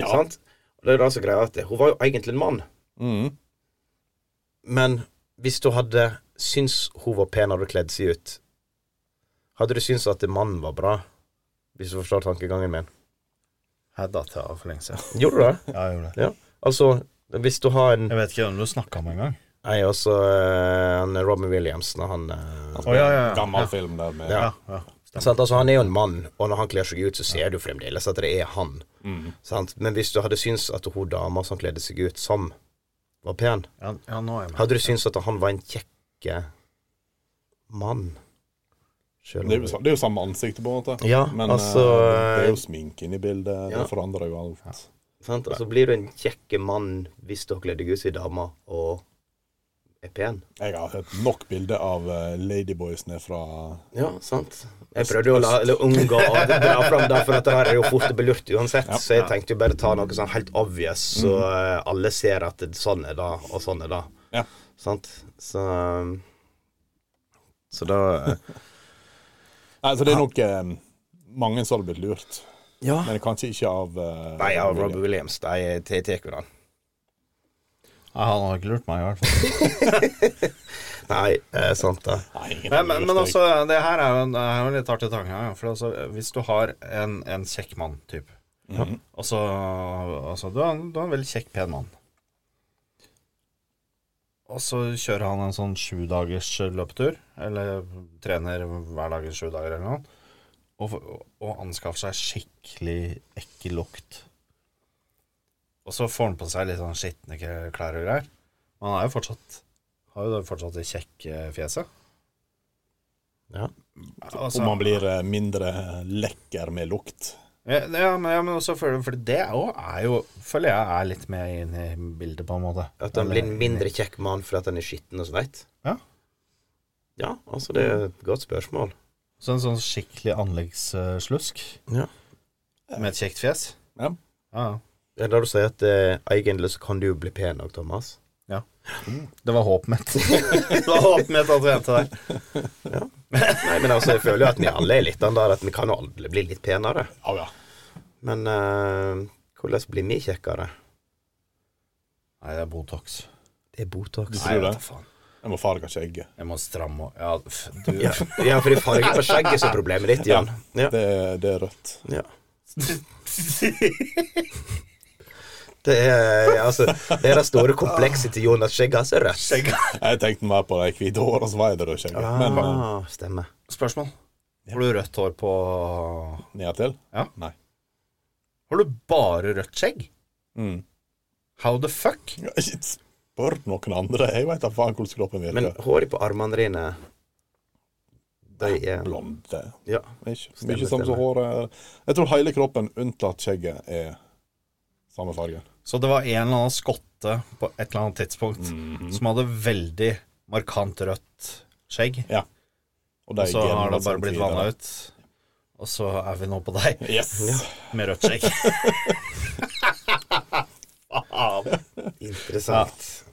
Speaker 3: Ja.
Speaker 2: sant? Og det er jo det som er greia, at hun var jo egentlig en mann,
Speaker 3: Mhm.
Speaker 2: men hvis du hadde syntes hun var pen når hun kledde seg ut, hadde du syntes at mannen var bra, hvis du forstår tankegangen min?
Speaker 4: Jeg datt av for lenge siden.
Speaker 2: Gjorde du det?
Speaker 4: Ja, jeg gjorde det.
Speaker 2: Altså, hvis du har en
Speaker 4: Jeg vet ikke hvem du snakka med engang.
Speaker 2: Nei, også eh, han Robin Williams når han eh,
Speaker 3: Altså,
Speaker 4: Å, ja, ja, ja.
Speaker 3: Gammel
Speaker 4: Ja.
Speaker 3: film der med
Speaker 2: Ja.
Speaker 4: Ja, ja.
Speaker 2: sant? Altså, Han er jo en mann, og når han kler seg ut, så ser du fremdeles at det er han.
Speaker 3: Mhm.
Speaker 2: Sant? Men hvis du hadde syntes at hun dama som kledde seg ut som, var pen,
Speaker 4: ja, ja nå er jeg med.
Speaker 2: hadde du syntes at han var en kjekke mann? Selv om
Speaker 3: Det er, jo, sa- det er jo samme ansiktet, på en måte.
Speaker 2: Ja,
Speaker 3: Men
Speaker 2: altså
Speaker 3: eh, det er
Speaker 2: eh,
Speaker 3: jo sminke inni bildet.
Speaker 2: ja.
Speaker 3: Det forandrer jo alt.
Speaker 2: sant? Altså, Blir du en kjekke mann hvis du har kledd deg ut som ei dame og er pen?
Speaker 3: Jeg har hørt nok bilder av eh, ladyboysene fra
Speaker 2: Ja, sant. Jeg prøvde jo å la, eller unngå å dra fram det, for dette her er jo fort belurt uansett. Så jeg tenkte jo bare ta noe sånn helt obvious, så eh, alle ser at det, sånn er det, og sånn er det.
Speaker 3: Ja.
Speaker 2: Sant? Så um, Så da eh,
Speaker 3: Nei, så det er nok eh, mange som hadde blitt lurt.
Speaker 2: Ja.
Speaker 3: Men kanskje ikke av eh,
Speaker 2: Nei, ja,
Speaker 3: Robin
Speaker 2: Robert Williams, de de tar jo den.
Speaker 4: Ja, han har ikke lurt meg, i hvert fall.
Speaker 2: Nei, eh, sant det.
Speaker 3: Nei, ingen
Speaker 4: Men,
Speaker 3: hadde
Speaker 4: men,
Speaker 3: lurt
Speaker 4: men
Speaker 3: deg.
Speaker 4: altså, det her er jo en, er jo en litt artig tanke. ja, For altså, hvis du har en, en kjekk mann, type
Speaker 3: Mhm.
Speaker 4: Og så altså, du, er, en- du er en veldig kjekk, pen mann. Og så kjører han en sånn sju dagers løpetur, eller trener hver dag i sju dager eller noe, og, f- og anskaffer seg skikkelig ekkel lukt. Og så får han på seg litt sånn skitne k- klær og greier. Men han er jo fortsatt har jo da fortsatt det kjekke fjeset.
Speaker 2: Ja.
Speaker 4: Altså-
Speaker 3: Om man blir eh, mindre lekker med lukt.
Speaker 4: Ja, ja, men, ja, men også føler, for det er jo, er jo Føler jeg er litt med inn i bildet, på en måte.
Speaker 2: At han blir en mindre kjekk mann fordi at han er skitten og sveit.
Speaker 4: Ja.
Speaker 2: Ja, altså, det er et godt spørsmål.
Speaker 4: Så en sånn skikkelig anleggsslusk
Speaker 2: Ja.
Speaker 4: med et kjekt fjes.
Speaker 3: Ja.
Speaker 4: Ja, ja.
Speaker 2: Det er det du sier, at eh, egentlig så kan du jo bli pen òg, Thomas.
Speaker 4: Det var håpet mitt. det var håpet mitt at vi endte der.
Speaker 2: Nei, men altså, jeg føler jo at vi alle er litt den der at vi kan jo alle bli litt penere.
Speaker 3: Ja, ja.
Speaker 2: Men eh, hvordan blir vi kjekkere?
Speaker 4: Nei, det er Botox.
Speaker 2: Det er
Speaker 3: Tror
Speaker 2: Botox.
Speaker 3: du
Speaker 4: Nei,
Speaker 3: det?
Speaker 4: vet da faen.
Speaker 3: Jeg må farge skjegget.
Speaker 4: Jeg må stramme og Ja, f- du
Speaker 2: Ja, ja fordi fargen på skjegget som er problemet ditt, Jan. Ja.
Speaker 3: Det, er- det er rødt.
Speaker 2: ja. Det er altså, det er det store komplekset til Jonas Skjegget. hans er rødt.
Speaker 3: Jeg tenkte mer på de hvite håra som var i det røde skjegget. Men eh,
Speaker 2: Ah, stemmer.
Speaker 4: Spørsmål. Har du rødt hår på
Speaker 3: eh, nedtil?
Speaker 4: Ja.
Speaker 3: Nei.
Speaker 4: Har du bare rødt skjegg?
Speaker 3: Mm.
Speaker 4: How the fuck?
Speaker 3: Ja, ikke Spør noen andre. Jeg veit da faen hvordan kroppen virker.
Speaker 2: Men håret på armene dine De er
Speaker 3: Blonde.
Speaker 2: Ja.
Speaker 3: Ikke
Speaker 2: Stemmer,
Speaker 3: mye som så
Speaker 2: stemmer.
Speaker 3: håret Jeg tror hele kroppen unntatt skjegget er samme fargen.
Speaker 4: Så det var en eller annen skotte på et eller annet tidspunkt Mm. som hadde veldig markant rødt skjegg.
Speaker 3: Og
Speaker 4: Og så har det bare blitt vanna ut. Og så er vi nå på deg
Speaker 3: Yes.
Speaker 4: med rødt skjegg. Faen.
Speaker 2: Interessant.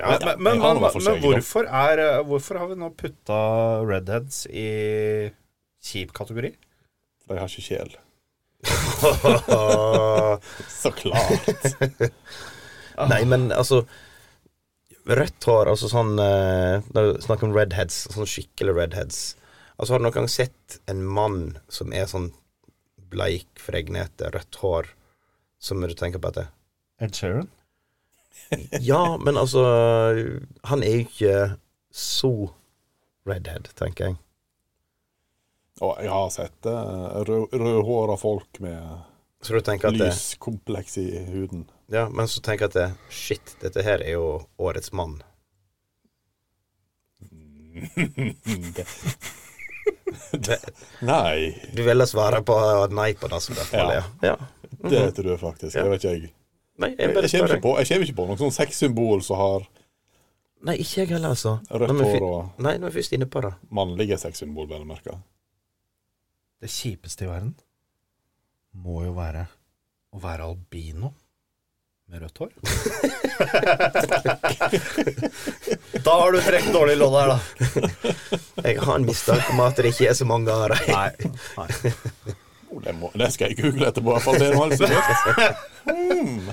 Speaker 4: Men, men, men,
Speaker 3: jeg har
Speaker 4: men,
Speaker 3: noe for skjegget, da.
Speaker 4: hvorfor, er, eh, hvorfor har vi nå putta redheads i kjip kategori?
Speaker 3: For jeg har ikke kjel.
Speaker 2: Ah.
Speaker 3: Så klart. Ah.
Speaker 2: Nei, men altså Rødt hår, altså sånn eh, Når du snakker om redheads, sånn skikkelig redheads Altså Har du noen gang sett en mann som er sånn bleik, fregnete, rødt hår, som du tenker på at det
Speaker 4: Ed Sheeran?
Speaker 2: Ja, men altså Han er jo ikke så redhead, tenker jeg.
Speaker 3: Og jeg har sett eh, rød- rødhåra folk med
Speaker 2: Så du tenker at det,
Speaker 3: lys kompleks i huden.
Speaker 2: Ja, men så tenker jeg at det, Shit, dette her er jo årets mann.
Speaker 3: Det, Nei,
Speaker 2: Du ville svare på nei på det som det
Speaker 3: Ja.
Speaker 2: faller, ja. ja.
Speaker 3: det tror jeg faktisk. Jeg vet ikke, jeg.
Speaker 2: Nei, Mhm. jeg
Speaker 3: Jeg
Speaker 2: bare
Speaker 3: kommer
Speaker 2: spør
Speaker 3: ikke
Speaker 2: deg.
Speaker 3: på, jeg kommer ikke på noe sånn sexsymbol som har
Speaker 2: Nei, ikke jeg heller, altså.
Speaker 3: rødt
Speaker 2: Når vi
Speaker 3: hår
Speaker 2: fy-
Speaker 3: og
Speaker 2: Nei, nå er vi først inne på det.
Speaker 3: mannlige sexsymbol, vel å merke.
Speaker 4: Det kjipeste i verden må jo være å være albino med rødt hår. da har du trukket dårlig lodd her, da.
Speaker 2: Jeg har en mistanke om at det ikke er så mange av dem.
Speaker 4: Nei. Nei.
Speaker 3: Oh, det, må, det skal jeg google etterpå. for det er noe helt sikkert. Hmm.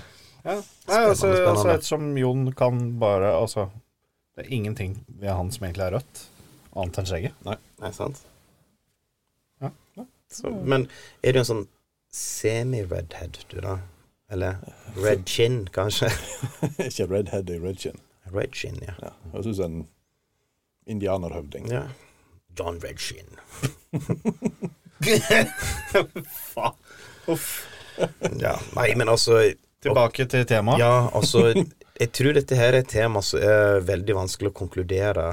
Speaker 4: Nei, altså,
Speaker 2: Spennende,
Speaker 4: altså
Speaker 2: spennende.
Speaker 4: Ettersom Jon kan bare Altså, det er ingenting ved han som egentlig er rødt, annet enn skjegget.
Speaker 2: Nei, sant?
Speaker 4: Ja.
Speaker 2: Så, men er du en sånn semi-redhead, du, da? Eller red chin, kanskje?
Speaker 3: Ikke redhead i red chin.
Speaker 2: Red chin, ja.
Speaker 3: Ja, jeg syns en indianerhøvding.
Speaker 2: ja. John Red Chin.
Speaker 4: Faen. Uff.
Speaker 2: Ja. Nei, men altså
Speaker 4: Tilbake til temaet.
Speaker 2: Ja, altså Jeg tror dette her er et tema som er veldig vanskelig å konkludere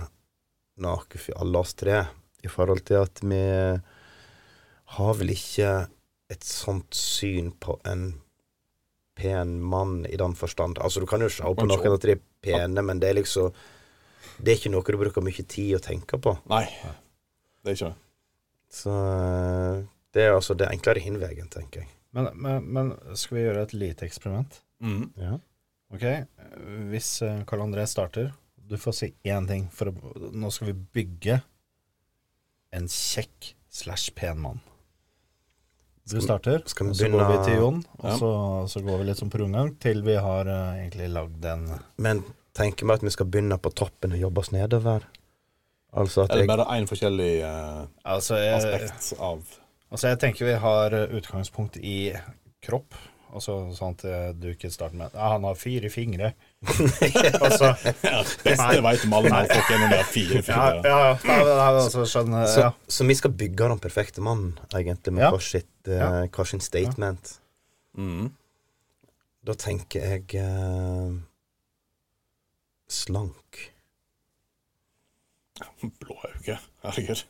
Speaker 2: noe for alle oss tre, i forhold til at vi har vel ikke et sånt syn på en pen mann i den forstand. Altså, du kan jo se på
Speaker 3: Man
Speaker 2: noen
Speaker 3: ser-
Speaker 2: at de er pene, men det er liksom Det er ikke noe du bruker mye tid å tenke på.
Speaker 3: Nei, det er ikke det.
Speaker 2: Så eh, det er altså det er enklere hinveien, tenker jeg.
Speaker 4: Men, men, men skal vi gjøre et lite eksperiment?
Speaker 2: Ja.
Speaker 4: Ok, hvis eh, Karl André starter Du får si én ting for å, Nå skal vi bygge En kjekk slash pen mann Du starter
Speaker 2: skal vi
Speaker 4: Så går vi
Speaker 2: begynne-
Speaker 4: til Jon Og
Speaker 3: Ja.
Speaker 4: så, så går vi litt som prungang Til vi har eh, egentlig lagd en
Speaker 2: Men tenker vi at vi skal begynne på toppen og jobbe oss nedover? Altså at
Speaker 3: Eller
Speaker 2: jeg
Speaker 3: bare én forskjellig eh,
Speaker 4: altså jeg,
Speaker 3: aspekt av
Speaker 4: altså jeg tenker vi har eh, utgangspunkt i kropp Altså sånn at eh, du ikke starter med ah, Han har fire fingre Altså
Speaker 3: ja, Beste vei til alle mannfolk er når de har fire
Speaker 4: Ja,
Speaker 3: fingre.
Speaker 4: ja, ja. Nei, men- nei, men altså, skjønner,
Speaker 2: Så,
Speaker 4: ja.
Speaker 2: så vi skal bygge den perfekte mannen, egentlig, med
Speaker 4: Ja.
Speaker 2: hver, sitt, eh,
Speaker 4: Ja.
Speaker 2: hver sin statement.
Speaker 3: Mm.
Speaker 2: Da tenker jeg eh, slank.
Speaker 3: Blå øyne. Herregud.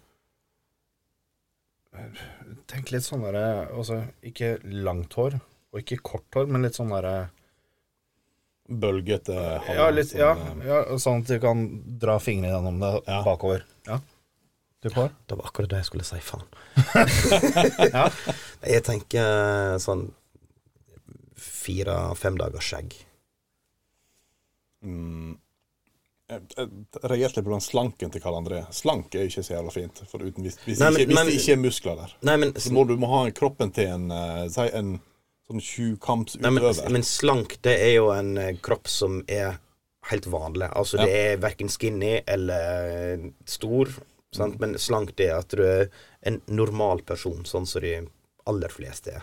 Speaker 4: Tenk litt sånn derre Altså, ikke langt hår, og ikke kort hår, men litt sånn derre
Speaker 3: Bølgete hals.
Speaker 4: ja, litt- ja,
Speaker 3: sånn, eh,
Speaker 4: ja, sånn at du kan dra fingrene gjennom det
Speaker 3: Ja.
Speaker 4: bakover. Ja. Du får?
Speaker 2: Det var akkurat det jeg skulle si, faen.
Speaker 4: Ja.
Speaker 2: Nei, Jeg tenker eh, sånn fire-fem dagers skjegg.
Speaker 3: Mm. Jeg, jeg reagerte litt på den slanken til Karl André. Slank er ikke så jævla fint. For uten, hvis hvis,
Speaker 2: Nei, men-
Speaker 3: ikke, hvis
Speaker 2: men-
Speaker 3: det ikke er muskler der,
Speaker 2: Nei, men,
Speaker 3: så må du må ha kroppen til en eh, Si en sånn
Speaker 2: nei, men,
Speaker 3: tjukampsutøver.
Speaker 2: men slank, det er jo en eh, kropp som er helt vanlig. Altså, det er verken skinny eller eh, stor, sant? men slank det er at du er en normal person, sånn som de aller fleste er.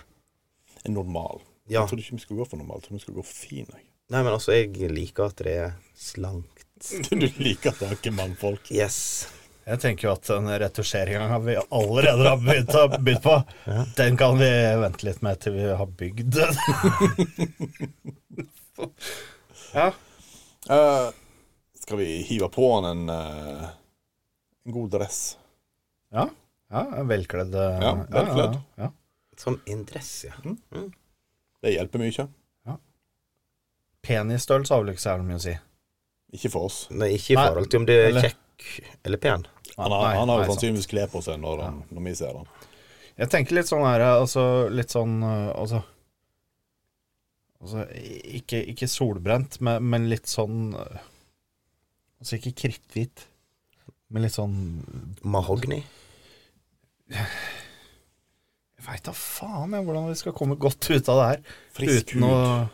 Speaker 3: En normal.
Speaker 2: Ja.
Speaker 3: Jeg trodde ikke vi skulle gå for normal. Jeg trodde vi skulle gå for fin. Jeg.
Speaker 2: Nei, men altså, jeg liker at det er slankt.
Speaker 3: Du liker at det er ikke mannfolk.
Speaker 2: Yes.
Speaker 4: Jeg tenker jo at den retusjeringa vi allerede har begynt, å- begynt på, den kan vi vente litt med til vi har bygd ja.
Speaker 3: Eh, skal vi hive på han en, eh, en god dress?
Speaker 4: ja. Ja, en velkledd eh,
Speaker 3: Ja, velkledd.
Speaker 4: Ja, ja.
Speaker 2: Som en dress, ja.
Speaker 3: Det hjelper mye.
Speaker 4: Penisstørrelse har vel ikke så jævlig mye å si.
Speaker 3: Ikke for oss.
Speaker 2: Nei, ikke i
Speaker 4: Nei,
Speaker 2: forhold til om du er
Speaker 4: eller-
Speaker 2: kjekk eller pen.
Speaker 3: Han har, han
Speaker 4: Nei,
Speaker 3: har sånn
Speaker 4: nei,
Speaker 3: jo
Speaker 4: sant.
Speaker 3: sannsynligvis klær på seg når, han, når vi ser han.
Speaker 4: Jeg tenker litt sånn her, altså litt sånn øh, Altså, altså i- ikke, ikke solbrent, men, men litt sånn øh, Altså ikke kritthvit, men litt sånn
Speaker 2: Mahogni.
Speaker 4: Jeg veit da faen jeg hvordan vi skal komme godt ut av det her
Speaker 3: Frisk
Speaker 4: uten
Speaker 3: hud.
Speaker 4: å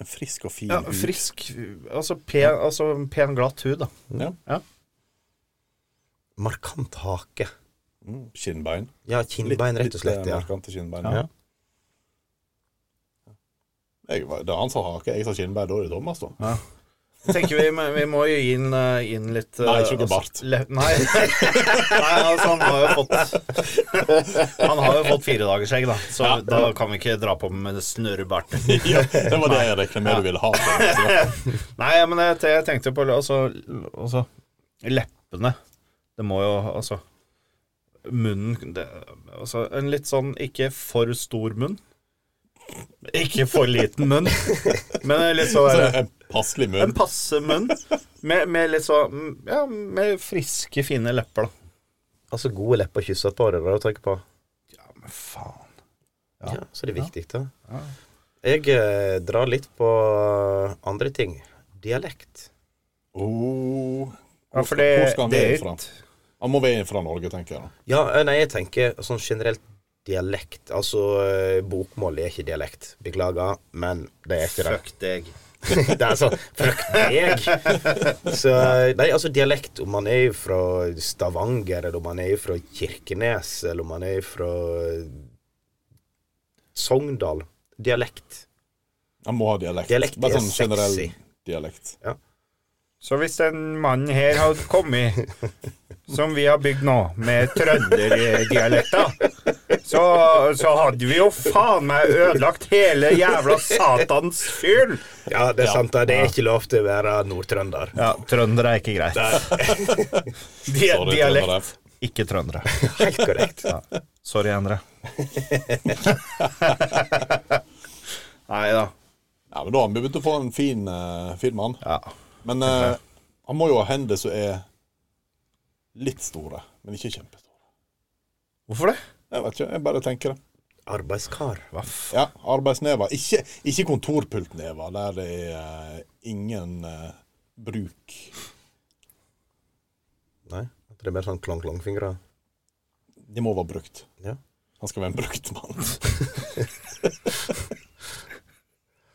Speaker 3: En frisk og fin
Speaker 4: Ja,
Speaker 3: hud.
Speaker 4: frisk Altså pen, altså, pen glatt hud, da.
Speaker 3: Ja.
Speaker 2: Markant hake.
Speaker 3: Mm. Kinnbein.
Speaker 2: Ja, kinnbein, rett og slett.
Speaker 3: Litt eh,
Speaker 2: ja.
Speaker 3: markante kinnbein.
Speaker 2: Ja.
Speaker 3: Jeg, var- det er han sa hake, jeg sa kinnbein. Da er det Thomas, da.
Speaker 4: tenker vi, men vi må jo gi inn, eh, inn litt eh,
Speaker 3: Nei, ikke noe
Speaker 4: altså,
Speaker 3: bart.
Speaker 4: le- nei. nei, altså han har jo fått Han har jo fått fire dagers skjegg, da. Så
Speaker 3: Ja.
Speaker 4: da kan vi ikke dra på med snørrebart.
Speaker 3: ja, det var det jeg regnet med du ville ha. Så,
Speaker 4: Nei, men jeg, jeg tenkte på altså, altså Leppene. Det må jo altså munnen det, Altså en litt sånn ikke for stor munn. Ikke for liten munn, men en litt sånn
Speaker 3: Så
Speaker 4: der,
Speaker 3: en passelig
Speaker 4: En
Speaker 3: munn.
Speaker 4: passe munn med, med litt sånn Ja, med friske, fine lepper, da.
Speaker 2: Altså, gode lepper kysser et par ører å tenke på.
Speaker 4: Ja, men faen. Ja.
Speaker 2: Ja. så det er viktig, da. Jeg eh, drar litt på andre ting. Dialekt.
Speaker 3: Oh.
Speaker 4: Ja, for det,
Speaker 3: Hvor skal han
Speaker 4: det
Speaker 3: være
Speaker 4: er
Speaker 3: fra?
Speaker 4: et
Speaker 3: Han må være fra Norge, tenker jeg. da.
Speaker 2: Ja, eh, nei, jeg tenker sånn generelt dialekt. Altså, eh, bokmål er ikke dialekt. Beklager, men det er ikke det.
Speaker 4: Fuck deg.
Speaker 2: det er sånn Fuck deg! Så, nei, altså dialekt, om man er fra Stavanger, eller om man er fra Kirkenes, eller om man er fra eh, Sogndal Dialekt.
Speaker 3: Han må ha dialekt.
Speaker 2: Dialekt
Speaker 3: Bare
Speaker 2: er
Speaker 3: sånn generell
Speaker 2: sexy.
Speaker 3: dialekt.
Speaker 4: Så hvis den mannen her hadde kommet, som vi har bygd nå, med trønderdialekter, så, så hadde vi jo faen meg ødelagt hele jævla satans fyren.
Speaker 2: Ja, det er
Speaker 3: Ja.
Speaker 2: sant. da. Det er ikke lov til å være nordtrønder.
Speaker 4: Ja, trøndere er ikke greit. Di
Speaker 3: Sorry,
Speaker 4: dialekt,
Speaker 3: trøndere.
Speaker 4: ikke trøndere.
Speaker 2: Helt korrekt.
Speaker 4: Ja. Sorry, Endre. Nei da.
Speaker 3: Ja, men da har vi begynt å få en fin, eh, fin mann.
Speaker 4: Ja.
Speaker 3: Men eh, han må jo ha hender som er litt store, men ikke kjempestore.
Speaker 4: Hvorfor det?
Speaker 3: Jeg vet ikke, jeg bare tenker det.
Speaker 2: Arbeidskar.
Speaker 4: Hva faen?
Speaker 3: Ja, arbeidsnever. Ikke, ikke kontorpultnever, der det er eh, ingen eh, bruk.
Speaker 2: Nei, det er mer sånn klang-klang-fingre.
Speaker 3: De må være brukt.
Speaker 2: Ja.
Speaker 3: Han skal være en brukt mann.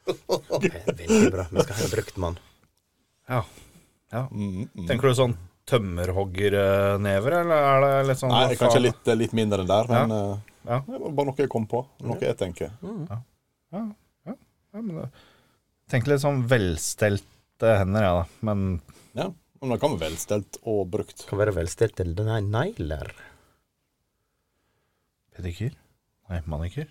Speaker 2: Det er Veldig bra. Vi skal ha en brukt mann.
Speaker 4: Ja. ja.
Speaker 3: Mm, mm.
Speaker 4: Tenker du sånn tømmerhoggernever, eller er det litt sånn
Speaker 3: Nei,
Speaker 4: hva
Speaker 3: kanskje
Speaker 4: faen?
Speaker 3: litt, eh, litt mindre enn der, men eh,
Speaker 4: Ja.
Speaker 3: det var bare noe jeg kom på. Noe jeg tenker.
Speaker 4: Ja, ja, ja men det- Tenk litt sånn velstelte hender, ja da. Men
Speaker 3: Ja, men det kan være velstelt og brukt.
Speaker 2: Kan være velstelt til den her negler.
Speaker 4: pedikyr? Nei, manikyr?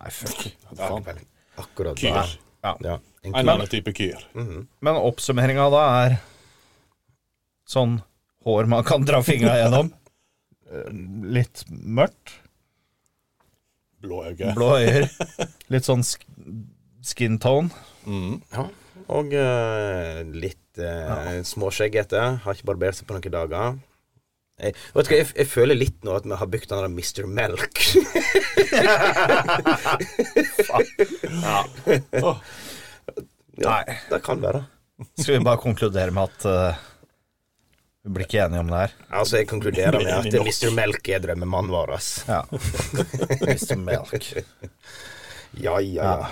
Speaker 4: Nei, fuck.
Speaker 3: Faen.
Speaker 2: Akkurat der.
Speaker 3: Kyr.
Speaker 4: Ja.
Speaker 2: Ja.
Speaker 3: En
Speaker 2: En
Speaker 3: eller annen type kyr.
Speaker 2: Mhm.
Speaker 4: Men oppsummeringa da er sånn hår man kan dra fingra gjennom. Eh, Litt mørkt.
Speaker 3: Blå øyne.
Speaker 4: Blå øyer. Litt sånn sk skin tone.
Speaker 3: Mm.
Speaker 2: Ja, og eh, litt uh, småskjeggete. Har ikke barbert seg på noen dager. Jeg, vet du hva, jeg, jeg føler litt nå at vi har bygd den der Mr. Melk.
Speaker 3: Åh,
Speaker 2: ja, Nei. Det kan være.
Speaker 4: Skal vi bare konkludere med at eh, vi blir ikke enige om det her?
Speaker 2: Altså, jeg konkluderer med at Mr. Melk er drømmemannen vår, ass.
Speaker 4: Ja. Mr. Melk.
Speaker 2: Ja, ja, ja.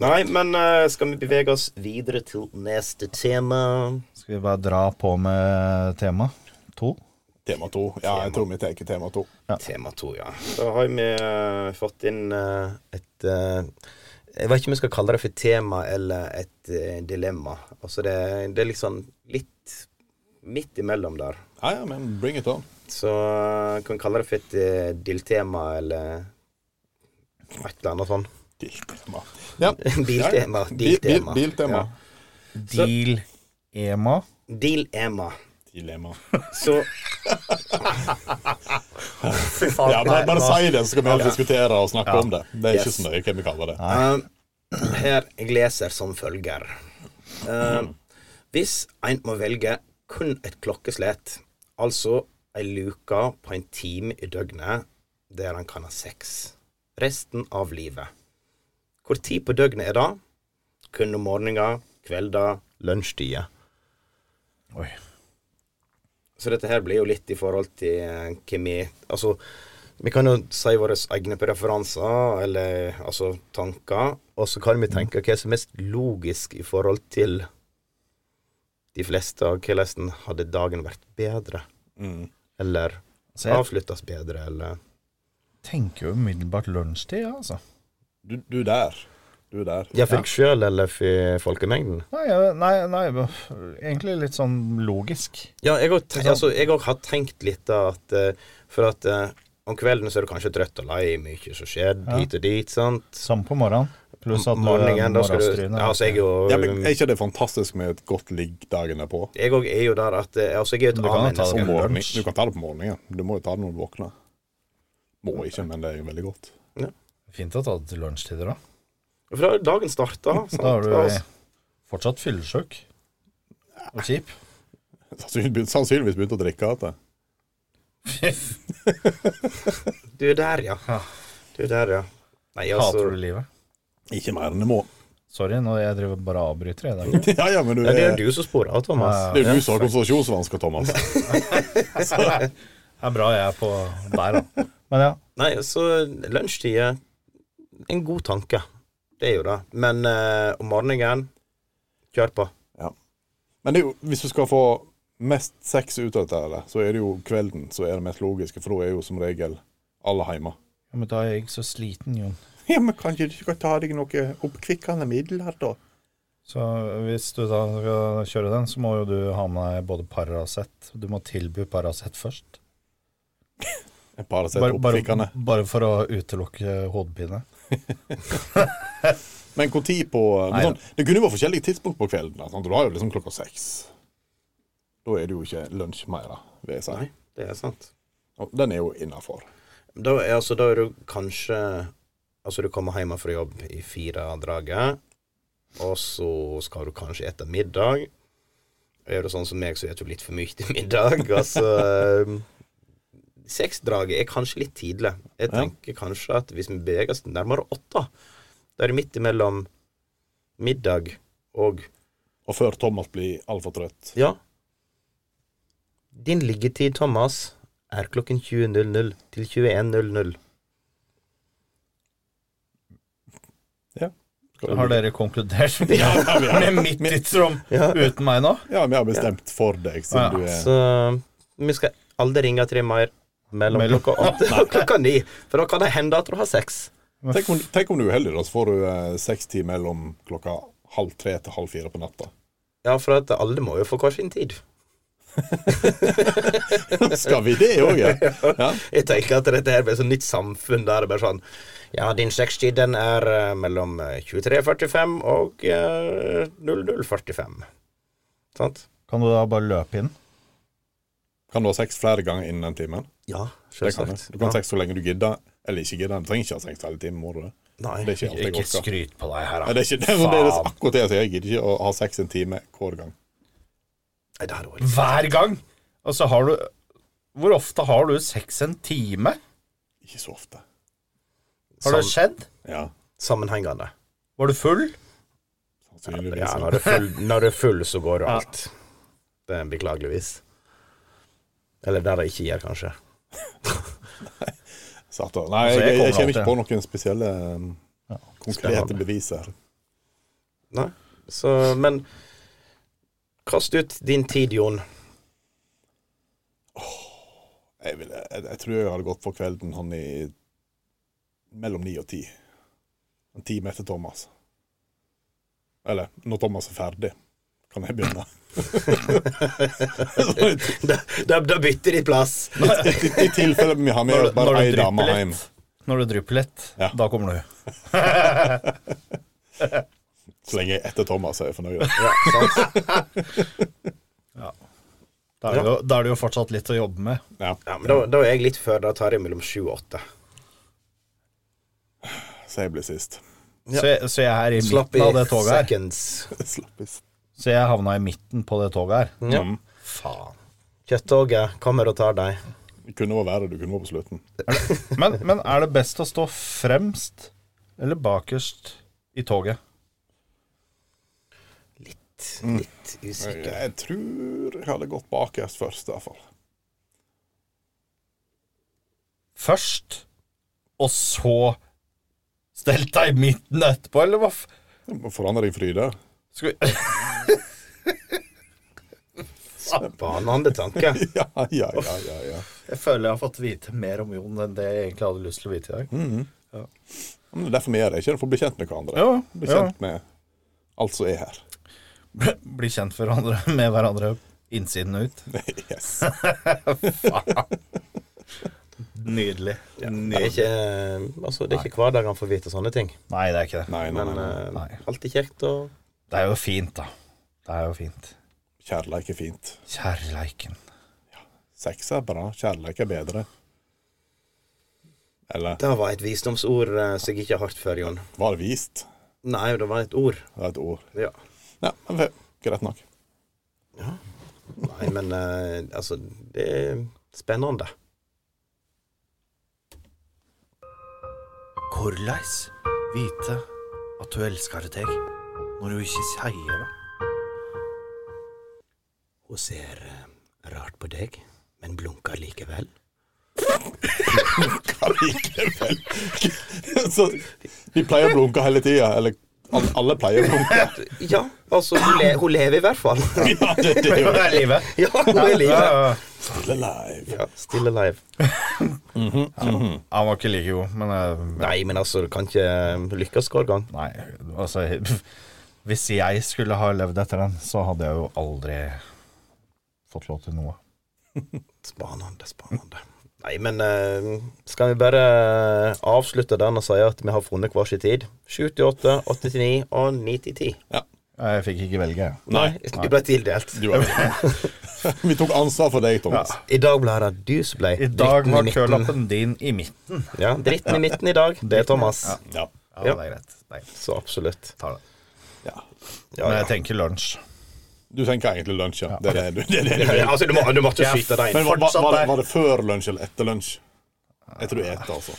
Speaker 2: Nei, men eh, skal vi bevege oss videre til neste tema?
Speaker 4: Skal vi bare dra på med tema to?
Speaker 3: Tema to. Ja, jeg tror vi tar tema to.
Speaker 2: Tema to, ja. Da har vi eh, fått inn eh, et eh, Jeg vet ikke om vi skal kalle det for tema eller et eh, dilemma. Altså det, det er liksom litt midt imellom der.
Speaker 3: Ja, ja, men bring it on.
Speaker 2: Så uh, kan vi kalle det for et eh, diltema eller et eller annet sånn.
Speaker 3: Biltema. Ja.
Speaker 2: Biltema.
Speaker 3: Ja, ja. Bil-
Speaker 2: Diltema.
Speaker 3: bil- Biltema.
Speaker 4: Deal Ema.
Speaker 2: Ja. Dilema.
Speaker 3: Dilemma.
Speaker 2: Så
Speaker 3: Ja, bare, bare si det, så skal vi heller diskutere og snakke
Speaker 4: Ja.
Speaker 3: om det. Det er ikke
Speaker 2: Yes.
Speaker 3: så nøye hva vi kaller det.
Speaker 2: Um, her jeg leser som følger. Um, hvis en må velge kun et klokkeslett, altså ei luke på en time i døgnet der en kan ha sex resten av livet, hvor tid på døgnet er det? Kun om morgenen, kvelder, lunsjtider.
Speaker 4: Oi.
Speaker 2: Så dette her blir jo litt i forhold til eh, hvem vi Altså, vi kan jo si våre egne preferanser, eller altså tanker, og så kan vi tenke hva som er mest logisk i forhold til de fleste, og hvordan hadde dagen vært bedre,
Speaker 3: Mm.
Speaker 2: eller
Speaker 4: Så jeg
Speaker 2: avsluttes bedre, eller
Speaker 4: tenker jo umiddelbart lunsjtid, ja, altså.
Speaker 3: Du, du der. Du der.
Speaker 2: Ja, for deg sjøl eller for folkemengden?
Speaker 4: Nei, jeg- nei, nei, egentlig litt sånn logisk.
Speaker 2: Ja, jeg òg ten- altså, jeg òg har tenkt litt da at eh, For at eh, om kvelden så er du kanskje trøtt og lei, mye som skjer,
Speaker 4: Ja.
Speaker 2: hit og dit, sant?
Speaker 4: Samme på morgenen. Pluss at eh, du er
Speaker 2: Morgenen, da skal du
Speaker 4: morgenstryne.
Speaker 2: Ja, altså, jeg er jo
Speaker 3: Ja, men Er ikke det fantastisk med et godt ligg dagen derpå?
Speaker 2: Jeg òg er jo der at eh, Altså, jeg er jo
Speaker 4: Du
Speaker 2: et
Speaker 4: kan jo ta det
Speaker 2: A-menneske.
Speaker 4: på morgenen.
Speaker 3: Morgen. Du kan ta det på morgenen. Du må jo ta det når du våkner. Må ikke, men det er jo veldig godt.
Speaker 4: Fint å ta det til lunsjtider, da.
Speaker 2: For da er dagen starta. sant?
Speaker 4: Da er du
Speaker 2: Altså,
Speaker 4: fortsatt fyllesyk. Og kjip.
Speaker 3: Sannsynligvis, sannsynligvis begynte å drikke igjen.
Speaker 4: Hater
Speaker 2: Du er der, ja.
Speaker 4: Ja.
Speaker 2: Du er der, ja. Nei, altså
Speaker 4: du livet?
Speaker 3: Ikke mer enn det må.
Speaker 4: Sorry, nå jeg driver bare og avbryter. Jeg, i dag.
Speaker 3: Ja, ja, men du
Speaker 2: ja, Det er
Speaker 3: er
Speaker 2: du som sporer av, Thomas.
Speaker 3: det er jo du som har konsentrasjonsvansker, Thomas.
Speaker 4: det er bra jeg er på der, da. Men ja.
Speaker 2: Nei, så lunsjtid er en god tanke. Det er jo det. Men eh, om morgenen Kjør på.
Speaker 3: Men det er jo, hvis du skal få mest sex ut av dette, her, så er det jo kvelden som er det mest logiske, for da er jo som regel alle hjemme.
Speaker 4: Ja, Men da er jeg så sliten, Jon.
Speaker 3: Ja, men kanskje du skal ta deg noe oppkvikkende midler, da?
Speaker 4: Så hvis du da skal kjøre den, så må jo du ha med deg både Paracet Du må tilby Paracet først.
Speaker 3: Et par sett
Speaker 4: Bare, bare,
Speaker 3: oppkvikkende.
Speaker 4: bare for å utelukke hodepine.
Speaker 3: Men hvor tid på
Speaker 4: Nei,
Speaker 3: men sånn, Det kunne jo være forskjellige tidspunkt på kvelden. Da, sant? Du har jo liksom klokka seks. Da er det jo ikke lunsj mer, da, vil jeg si.
Speaker 2: Nei, det er sant.
Speaker 3: Og den er jo innafor.
Speaker 2: Da er, altså, da er du kanskje Altså, du kommer hjem fra jobb i fire-draget, og så skal du kanskje ete middag. Er du sånn som meg, så spiser du litt for mye til middag. Altså eh, Seksdraget er kanskje litt tidlig. Jeg
Speaker 3: Ja.
Speaker 2: tenker kanskje at hvis vi beveger oss nærmere åtte, da er det midt imellom middag og
Speaker 3: Og før Thomas blir altfor trøtt.
Speaker 2: Ja. Din liggetid, Thomas, er klokken 20.00 til 21.00.
Speaker 3: Skal du-
Speaker 4: Har dere konkludert
Speaker 3: Ja,
Speaker 4: med,
Speaker 3: vi har-
Speaker 4: med mitt tidsrom
Speaker 2: Ja.
Speaker 4: uten meg nå?
Speaker 3: ja, vi har bestemt for deg,
Speaker 4: Ja.
Speaker 3: siden du er
Speaker 2: Så eh, vi skal aldri ringe tre mer mellom,
Speaker 4: Mellom-
Speaker 2: klokka åtte og klokka ni. For da kan det hende at du har sex.
Speaker 3: Tenk om, tenk om du er uheldig, da, så får du eh, seks timer mellom klokka halv tre til halv fire på natta.
Speaker 2: Ja, for at alle må jo få hver sin tid.
Speaker 3: Skal vi det òg, ja? ja?
Speaker 2: Jeg tenker at dette her blir et sånt nytt samfunn der det bare sånn Ja, din sextid den er eh, mellom eh, 23.45 og eh, 00.45. Sant?
Speaker 4: Kan du da bare løpe inn?
Speaker 3: Kan du ha sex flere ganger innen den timen?
Speaker 2: Ja,
Speaker 3: Det kan du.
Speaker 2: selvsagt.
Speaker 3: Du kan ha
Speaker 2: Ja.
Speaker 3: sex så lenge du gidder, eller ikke gidder. Du trenger ikke ha sex hele timen, må du det?
Speaker 2: Nei.
Speaker 3: Det er ikke alt jeg
Speaker 4: Ikke
Speaker 3: orker.
Speaker 4: skryt på deg her,
Speaker 3: Nei, det er ikke det, men det er det- akkurat det jeg sier. Jeg gidder ikke å ha sex en time hver gang.
Speaker 2: Nei, det hadde vært
Speaker 4: Hver gang! Og så har du Hvor ofte har du sex en time?
Speaker 3: Ikke så ofte.
Speaker 4: Har det
Speaker 2: sam-
Speaker 4: skjedd?
Speaker 3: Ja,
Speaker 2: sammenhengende.
Speaker 4: Var du full?
Speaker 3: sannsynligvis.
Speaker 2: Ja,
Speaker 3: Ja,
Speaker 2: når du er full, når du er full så går det
Speaker 4: liksom. Ja.
Speaker 2: alt. Det er beklageligvis. Eller der det ikke gjør, kanskje.
Speaker 3: Satan. Nei,
Speaker 4: Altså,
Speaker 3: jeg,
Speaker 4: jeg
Speaker 3: jeg,
Speaker 4: kommer
Speaker 3: kommer ikke på
Speaker 4: alltid.
Speaker 3: noen spesielle um, konkrete
Speaker 2: Spennende.
Speaker 3: bevis her.
Speaker 2: Nei. Så, men kast ut din tid, Jon.
Speaker 3: Jeg, vil, jeg, jeg tror jeg hadde gått for kvelden han i mellom ni og ti. En time etter Thomas. Eller når Thomas er ferdig, kan jeg begynne.
Speaker 2: Da, da, da bytter de plass.
Speaker 3: I, i, i tilfelle vi har med
Speaker 4: Når,
Speaker 3: oss
Speaker 4: når,
Speaker 3: bare ei
Speaker 4: du
Speaker 3: dame
Speaker 4: drypper
Speaker 3: hjem.
Speaker 4: litt, når du drypper litt,
Speaker 3: Ja.
Speaker 4: da kommer du.
Speaker 3: Så lenge jeg er etter Thomas er jeg fornøyd.
Speaker 2: Ja, sant?
Speaker 4: Da er, det jo, da er det jo fortsatt litt å jobbe med.
Speaker 3: Ja,
Speaker 2: Ja, men da, da er jeg litt før. Da tar jeg mellom sju og åtte.
Speaker 3: så jeg blir sist.
Speaker 2: Ja.
Speaker 4: Så, jeg, så jeg er i
Speaker 2: Slapp i
Speaker 4: midten av det toget her.
Speaker 2: seconds.
Speaker 3: Slappis.
Speaker 4: Så jeg havna i midten på det toget her.
Speaker 2: Ja.
Speaker 4: Mm. Faen.
Speaker 2: Kjøttoget kommer og tar deg.
Speaker 3: Det kunne vært verre, du kunne vært på slutten.
Speaker 4: Men, men er det best å stå fremst eller bakerst i toget?
Speaker 2: Litt,
Speaker 4: Mm.
Speaker 2: litt
Speaker 3: Jeg,
Speaker 2: usikker.
Speaker 3: jeg tror jeg hadde gått bakerst først, i hvert fall.
Speaker 4: Først, og så stelt deg i midten etterpå, eller hva f...
Speaker 3: Forandring Fryde.
Speaker 4: Skal vi...
Speaker 2: Banende tanke.
Speaker 3: Ja, ja, ja, ja, ja.
Speaker 4: Jeg føler jeg har fått vite mer om Jon enn det jeg egentlig hadde lyst til å vite i dag.
Speaker 3: Men det er derfor vi er det, ikke? For å bli kjent med hverandre.
Speaker 4: Ja,
Speaker 3: Bli kjent med alt som er her.
Speaker 4: Bli kjent for hverandre, med hverandre innsiden og ut.
Speaker 3: Yes.
Speaker 4: Nydelig.
Speaker 2: Det er
Speaker 4: Nydelig.
Speaker 2: ikke, eh, altså, det er ikke hver dag han får vite sånne ting.
Speaker 4: Nei, det er ikke det.
Speaker 3: Nei, nei,
Speaker 2: Men
Speaker 3: nei. nei.
Speaker 2: eh,
Speaker 4: Nei.
Speaker 2: alltid kjekt å
Speaker 4: Det er jo fint, da. Det er jo fint.
Speaker 3: Kjærleik er fint.
Speaker 4: Kjærleiken.
Speaker 3: Sex er bra. Kjærleik er bedre. Eller
Speaker 2: Det var et visdomsord eh, som jeg ikke har hørt før, Jon.
Speaker 3: var det vist?
Speaker 2: Nei, det var et ord.
Speaker 3: Det er et ord.
Speaker 2: Ja.
Speaker 3: Ja, men det- greit nok.
Speaker 2: Nei, men eh, altså Det er spennende.
Speaker 4: Korleis vite at du elsker deg når du ikke sier det?
Speaker 2: Hun ser eh, rart på deg, men blunker likevel.
Speaker 3: Allikevel. Så de pleier å blunke hele tida. Eller al- alle pleier å blunke.
Speaker 2: Ja, altså, hun, le hun lever i hvert fall.
Speaker 3: Ja, det, det er jo
Speaker 4: Det er livet.
Speaker 2: ja, hun er i live.
Speaker 3: Still alive.
Speaker 2: Ja, still alive.
Speaker 4: Han var ikke like god, men eh,
Speaker 2: Nei, men altså, du kan ikke eh, lykkes hver gang.
Speaker 4: Nei, altså Hvis jeg skulle ha levd etter den, så hadde jeg jo aldri fått lov til noe.
Speaker 2: Spanende, spanende. Nei, men eh, skal vi bare eh, avslutte den og si at vi har funnet hver sin tid? 7 til 8, 8 til 9 og 9 til 10.
Speaker 4: Jeg fikk ikke velge. jeg.
Speaker 3: Nei.
Speaker 2: Du ble tildelt.
Speaker 3: Du er Vi tok ansvar for deg, Thomas.
Speaker 2: I dag ble det du som ble
Speaker 4: I dag
Speaker 2: dritten i
Speaker 4: var
Speaker 2: midten.
Speaker 4: kølappen din i midten.
Speaker 2: Ja, dritten i midten i dag. Det er Thomas.
Speaker 3: Ja.
Speaker 4: Ja,
Speaker 2: Ja.
Speaker 4: det er greit. Det er greit.
Speaker 2: Så absolutt.
Speaker 4: Tar det.
Speaker 3: ja.
Speaker 2: Ja,
Speaker 4: Men
Speaker 2: ja.
Speaker 4: jeg tenker lunsj.
Speaker 3: Du tenker egentlig lunsj, ja. Det er det du, det er det du
Speaker 2: Ja,
Speaker 3: vil.
Speaker 2: Altså, du, må, du måtte
Speaker 4: Jeg er
Speaker 2: skyte deg inn.
Speaker 3: Men var, var,
Speaker 4: fortsatt
Speaker 3: var, det,
Speaker 4: der.
Speaker 3: var det før lunsj eller etter lunsj? Jeg tror det er etter, altså.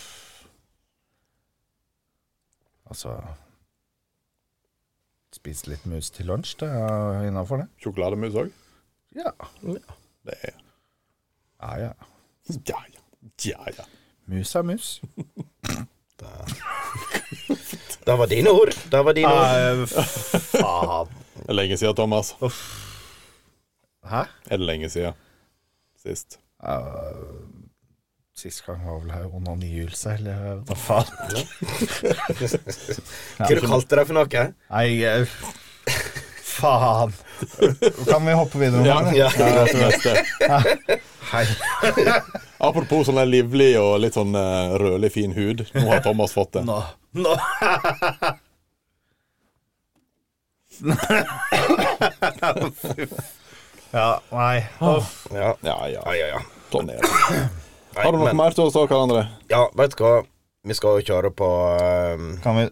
Speaker 4: Altså Spise litt mus til lunsj, det er innafor, det.
Speaker 3: Sjokolademus òg?
Speaker 4: Ja.
Speaker 3: Det er
Speaker 4: ja, ja.
Speaker 3: Ja, ja. Ja, ja.
Speaker 4: Mus er mus.
Speaker 2: Det var dine ord. Det var dine ord.
Speaker 4: faen.
Speaker 3: Det er lenge siden, Thomas.
Speaker 4: Hæ?
Speaker 3: Er det lenge siden sist?
Speaker 4: Sist gang var vel her onanihjulse, eller hva faen?
Speaker 2: Hva du kalte det for noe?
Speaker 4: Nei, jeg- faen. Kan vi hoppe videre?
Speaker 3: Ja.
Speaker 4: Magne?
Speaker 2: Ja.
Speaker 3: Neste.
Speaker 4: Hei.
Speaker 3: Apropos sånn der livlig og litt sånn eh, rødlig fin hud. Nå har Thomas fått det.
Speaker 4: Nå. Nå. ja, nei. Uff.
Speaker 2: Ja,
Speaker 3: Ja, ja.
Speaker 2: ja, ja. ja.
Speaker 3: Sånn er det.
Speaker 2: Nei,
Speaker 3: Har du noe
Speaker 2: men-
Speaker 3: mer til oss, da, Karl André?
Speaker 2: Ja, vet du hva? Vi skal jo kjøre på ehm,
Speaker 4: Kan vi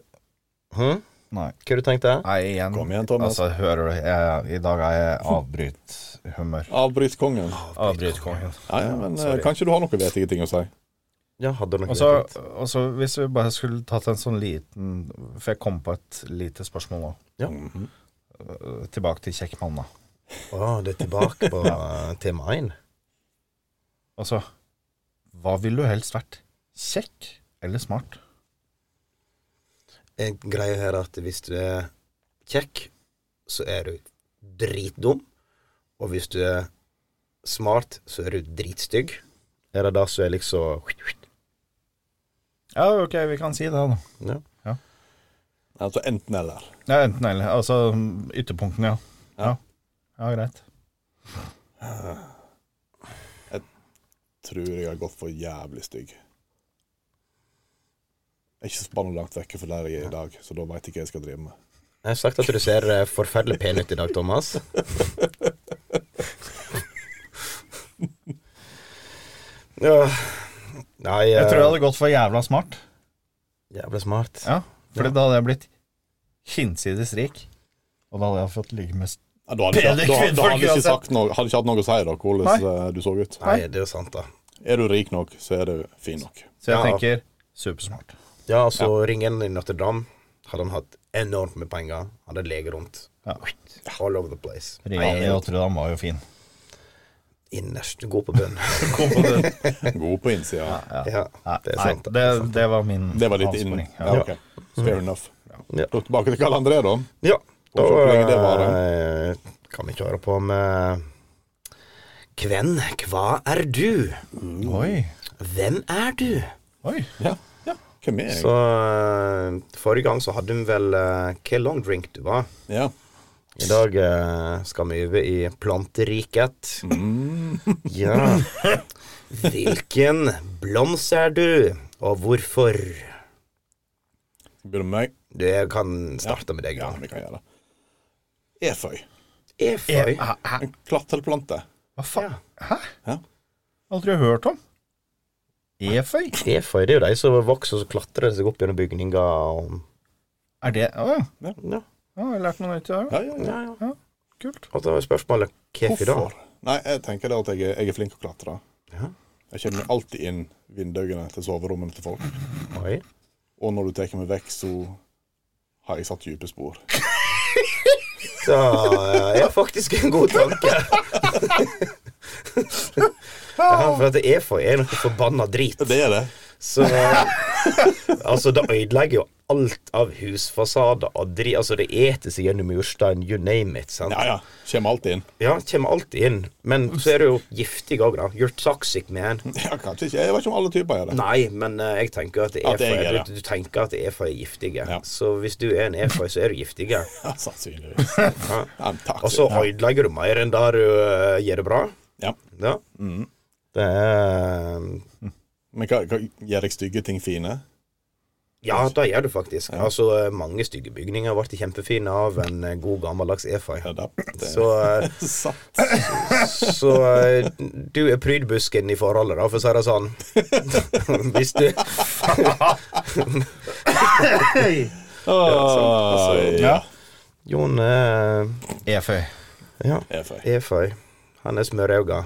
Speaker 2: hm?
Speaker 4: Nei.
Speaker 2: Hva du tenkte du?
Speaker 4: Nei, igjen.
Speaker 3: Kom igjen, Thomas.
Speaker 4: Altså, hører du, jeg, I dag er jeg avbrythumør.
Speaker 3: Avbryt kongen.
Speaker 4: Avbrytkongen.
Speaker 3: Ja, ja, men eh, kanskje du har noen vettige ting å si?
Speaker 2: Ja, hadde du noe
Speaker 4: Og så,
Speaker 2: tenkt?
Speaker 4: og så hvis vi bare skulle tatt en sånn liten For jeg kom på et lite spørsmål nå.
Speaker 2: Ja.
Speaker 4: Mhm. Eh, Tilbake til kjekk mann, da.
Speaker 2: Å, det er tilbake på eh, tema 1.
Speaker 4: Altså, hva ville du helst vært? Kjekk eller smart?
Speaker 2: En greie her er at hvis du er kjekk, så er du dritdum. Og hvis du er smart, så er du dritstygg. Er det det som er liksom
Speaker 4: Ja, ok, vi kan si det, da.
Speaker 2: ja.
Speaker 3: Altså enten eller.
Speaker 4: Ja, enten eller. Altså ytterpunktene, ja. Ja, ja greit.
Speaker 3: Tror jeg har gått for jævlig stygg. Jeg er ikke så spennende langt vekke for der jeg er i dag, så da veit jeg ikke hva jeg skal drive med.
Speaker 2: Jeg har sagt at du ser eh, forferdelig pen ut i dag, Thomas. ja. Nei
Speaker 4: Jeg tror jeg
Speaker 2: eh,
Speaker 4: hadde gått for jævla smart.
Speaker 2: Jævlig smart.
Speaker 4: Ja, Fordi da hadde jeg blitt hinsides rik. Og da hadde jeg fått ligge med
Speaker 3: Ja, da hadde
Speaker 4: Pene
Speaker 3: jeg ikke, da, da hadde
Speaker 4: kvinnfolk
Speaker 3: jeg ikke,
Speaker 4: uansett.
Speaker 3: sagt noe, hadde ikke hatt noe å si da, hvordan eh, du så ut.
Speaker 2: Nei, det er jo sant, da.
Speaker 3: Er du rik nok, så er du fin nok.
Speaker 4: Så jeg
Speaker 2: Ja.
Speaker 4: tenker supersmart.
Speaker 2: Ja, altså, ringen i Notre-Dame hadde han hatt enormt med penger. Hadde leget rundt.
Speaker 4: Ja.
Speaker 2: All over the place.
Speaker 4: Ringen i Rotterdam var jo fin.
Speaker 2: Innerst god på bunnen.
Speaker 3: God på innsida.
Speaker 2: ja, det er
Speaker 4: Nei,
Speaker 2: sant.
Speaker 4: det, det var min
Speaker 3: Det var litt inn.
Speaker 4: avsporing.
Speaker 3: Ja,
Speaker 4: Ja.
Speaker 3: ok. Fair enough.
Speaker 2: Ja.
Speaker 3: Da Tilbake til Karl André, da.
Speaker 2: Ja, da
Speaker 3: Hvor lenge det
Speaker 2: eh, kan vi kjøre på med Kven, hva er du?
Speaker 4: Oi.
Speaker 2: Hvem er du?
Speaker 4: Oi.
Speaker 3: Ja. ja. Hvem er jeg?
Speaker 2: Så eh, forrige gang så hadde vi vel eh, Hva long drink du var?
Speaker 3: Ja.
Speaker 2: I dag eh, skal vi over i planteriket.
Speaker 3: Mm.
Speaker 2: Ja. Hvilken blomst er du, og hvorfor?
Speaker 3: Begynner med meg.
Speaker 2: Du, jeg kan starte med deg.
Speaker 3: Ja,
Speaker 2: da.
Speaker 3: vi kan gjøre det. Eføy.
Speaker 2: Eføy.
Speaker 4: Hæ? Hæ?
Speaker 3: En klattelplante.
Speaker 4: Hva faen? Hæ?
Speaker 3: Ja.
Speaker 4: Aldri hørt om? Eføy?
Speaker 2: Eføy det er jo de som vokser og så klatrer de seg opp gjennom bygninger. Og,
Speaker 4: Er det Å ja.
Speaker 2: ja,
Speaker 4: Ja, Jeg har lært noe nytt i dag.
Speaker 3: Ja, ja, ja.
Speaker 2: ja, ja.
Speaker 4: Kult.
Speaker 2: Og så er spørsmålet hvorfor da?
Speaker 3: Hvorfor? Nei, jeg tenker det at jeg, er- jeg er flink til å klatre.
Speaker 2: Ja.
Speaker 3: Jeg kjenner alltid inn vinduene til soverommene til folk.
Speaker 2: Oi.
Speaker 3: Og når du tar meg vekk, så har jeg satt dype spor.
Speaker 2: Så eh, er faktisk en god tanke. ja, for at eføy er noe forbanna drit.
Speaker 3: Det er det.
Speaker 2: Så Altså, det ødelegger jo alt av husfasader og dri... Altså, det eter seg gjennom murstein, you name it, sant?
Speaker 3: Ja, ja. Kommer alltid inn.
Speaker 2: Ja, kommer alltid inn. Men så er det jo giftig òg, da. You're toxic, man.
Speaker 3: Ja, kanskje ikke. Jeg vet ikke om alle typer gjør det.
Speaker 2: Nei, men eh, jeg tenker at
Speaker 3: At jeg
Speaker 2: eføy
Speaker 3: er det.
Speaker 2: du, du tenker at eføy er giftige.
Speaker 3: Ja.
Speaker 2: Så hvis du er en eføy, så er du giftige.
Speaker 3: Ja, sannsynligvis.
Speaker 2: Ja.
Speaker 3: Ja, men takk.
Speaker 2: Og så ødelegger du mer enn der du eh, gjør det bra.
Speaker 3: Ja. Mm.
Speaker 2: Ja. Det er eh,
Speaker 3: Men hva, hva gjør jeg stygge ting fine?
Speaker 2: Ja, det gjør du faktisk. Altså, eh, mange stygge bygninger ble kjempefine av en eh, god, gammeldags eføy.
Speaker 3: Ja, da. Det
Speaker 2: Så, eh,
Speaker 3: er sant.
Speaker 2: så eh, du er prydbusken i forholdet, da, for å si det sånn. Hvis du
Speaker 3: Oi,
Speaker 4: altså,
Speaker 3: ja.
Speaker 4: ja.
Speaker 2: Jon eh, er
Speaker 4: Eføy.
Speaker 2: ja,
Speaker 3: Eføy.
Speaker 2: eføy. Han er smørauga.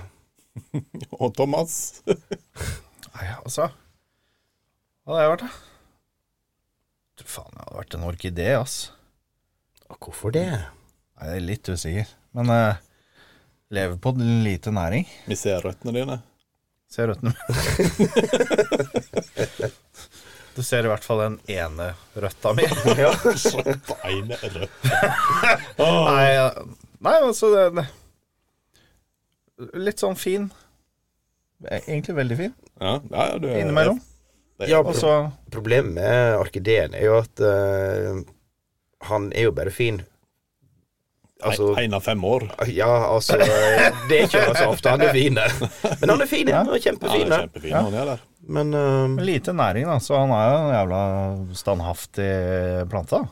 Speaker 3: Og Thomas.
Speaker 4: Nei, altså Hva hadde jeg vært, da? Du faen, jeg hadde vært en orkidé, ass.
Speaker 2: Og Hvorfor det?
Speaker 4: Nei, jeg er litt usikker. Men eh, lever på lite næring.
Speaker 3: Vi ser røttene dine.
Speaker 4: Ser røttene Du ser i hvert fall den ene røtta mi.
Speaker 2: Ja.
Speaker 3: Beine er rødt.
Speaker 4: Nei, eh, nei altså det, det. Litt sånn fin. E-, Egentlig veldig fin
Speaker 3: Ja, ja, ja, du er altså-
Speaker 4: innimellom.
Speaker 2: ja,
Speaker 4: Og så
Speaker 2: Problemet med orkideen er jo at eh, han er jo bare fin. Altså
Speaker 3: En av fem år.
Speaker 2: Ja, altså eh, Det er ikke så ofte han er fin. Men han er fin, ja. Han
Speaker 3: Ja,
Speaker 2: er
Speaker 3: det
Speaker 2: kjempefin.
Speaker 3: er
Speaker 2: ja.
Speaker 3: kjempefin han er der.
Speaker 2: Men eh,
Speaker 4: lite næring, da. Så han er jo en jævla standhaftig plante. da.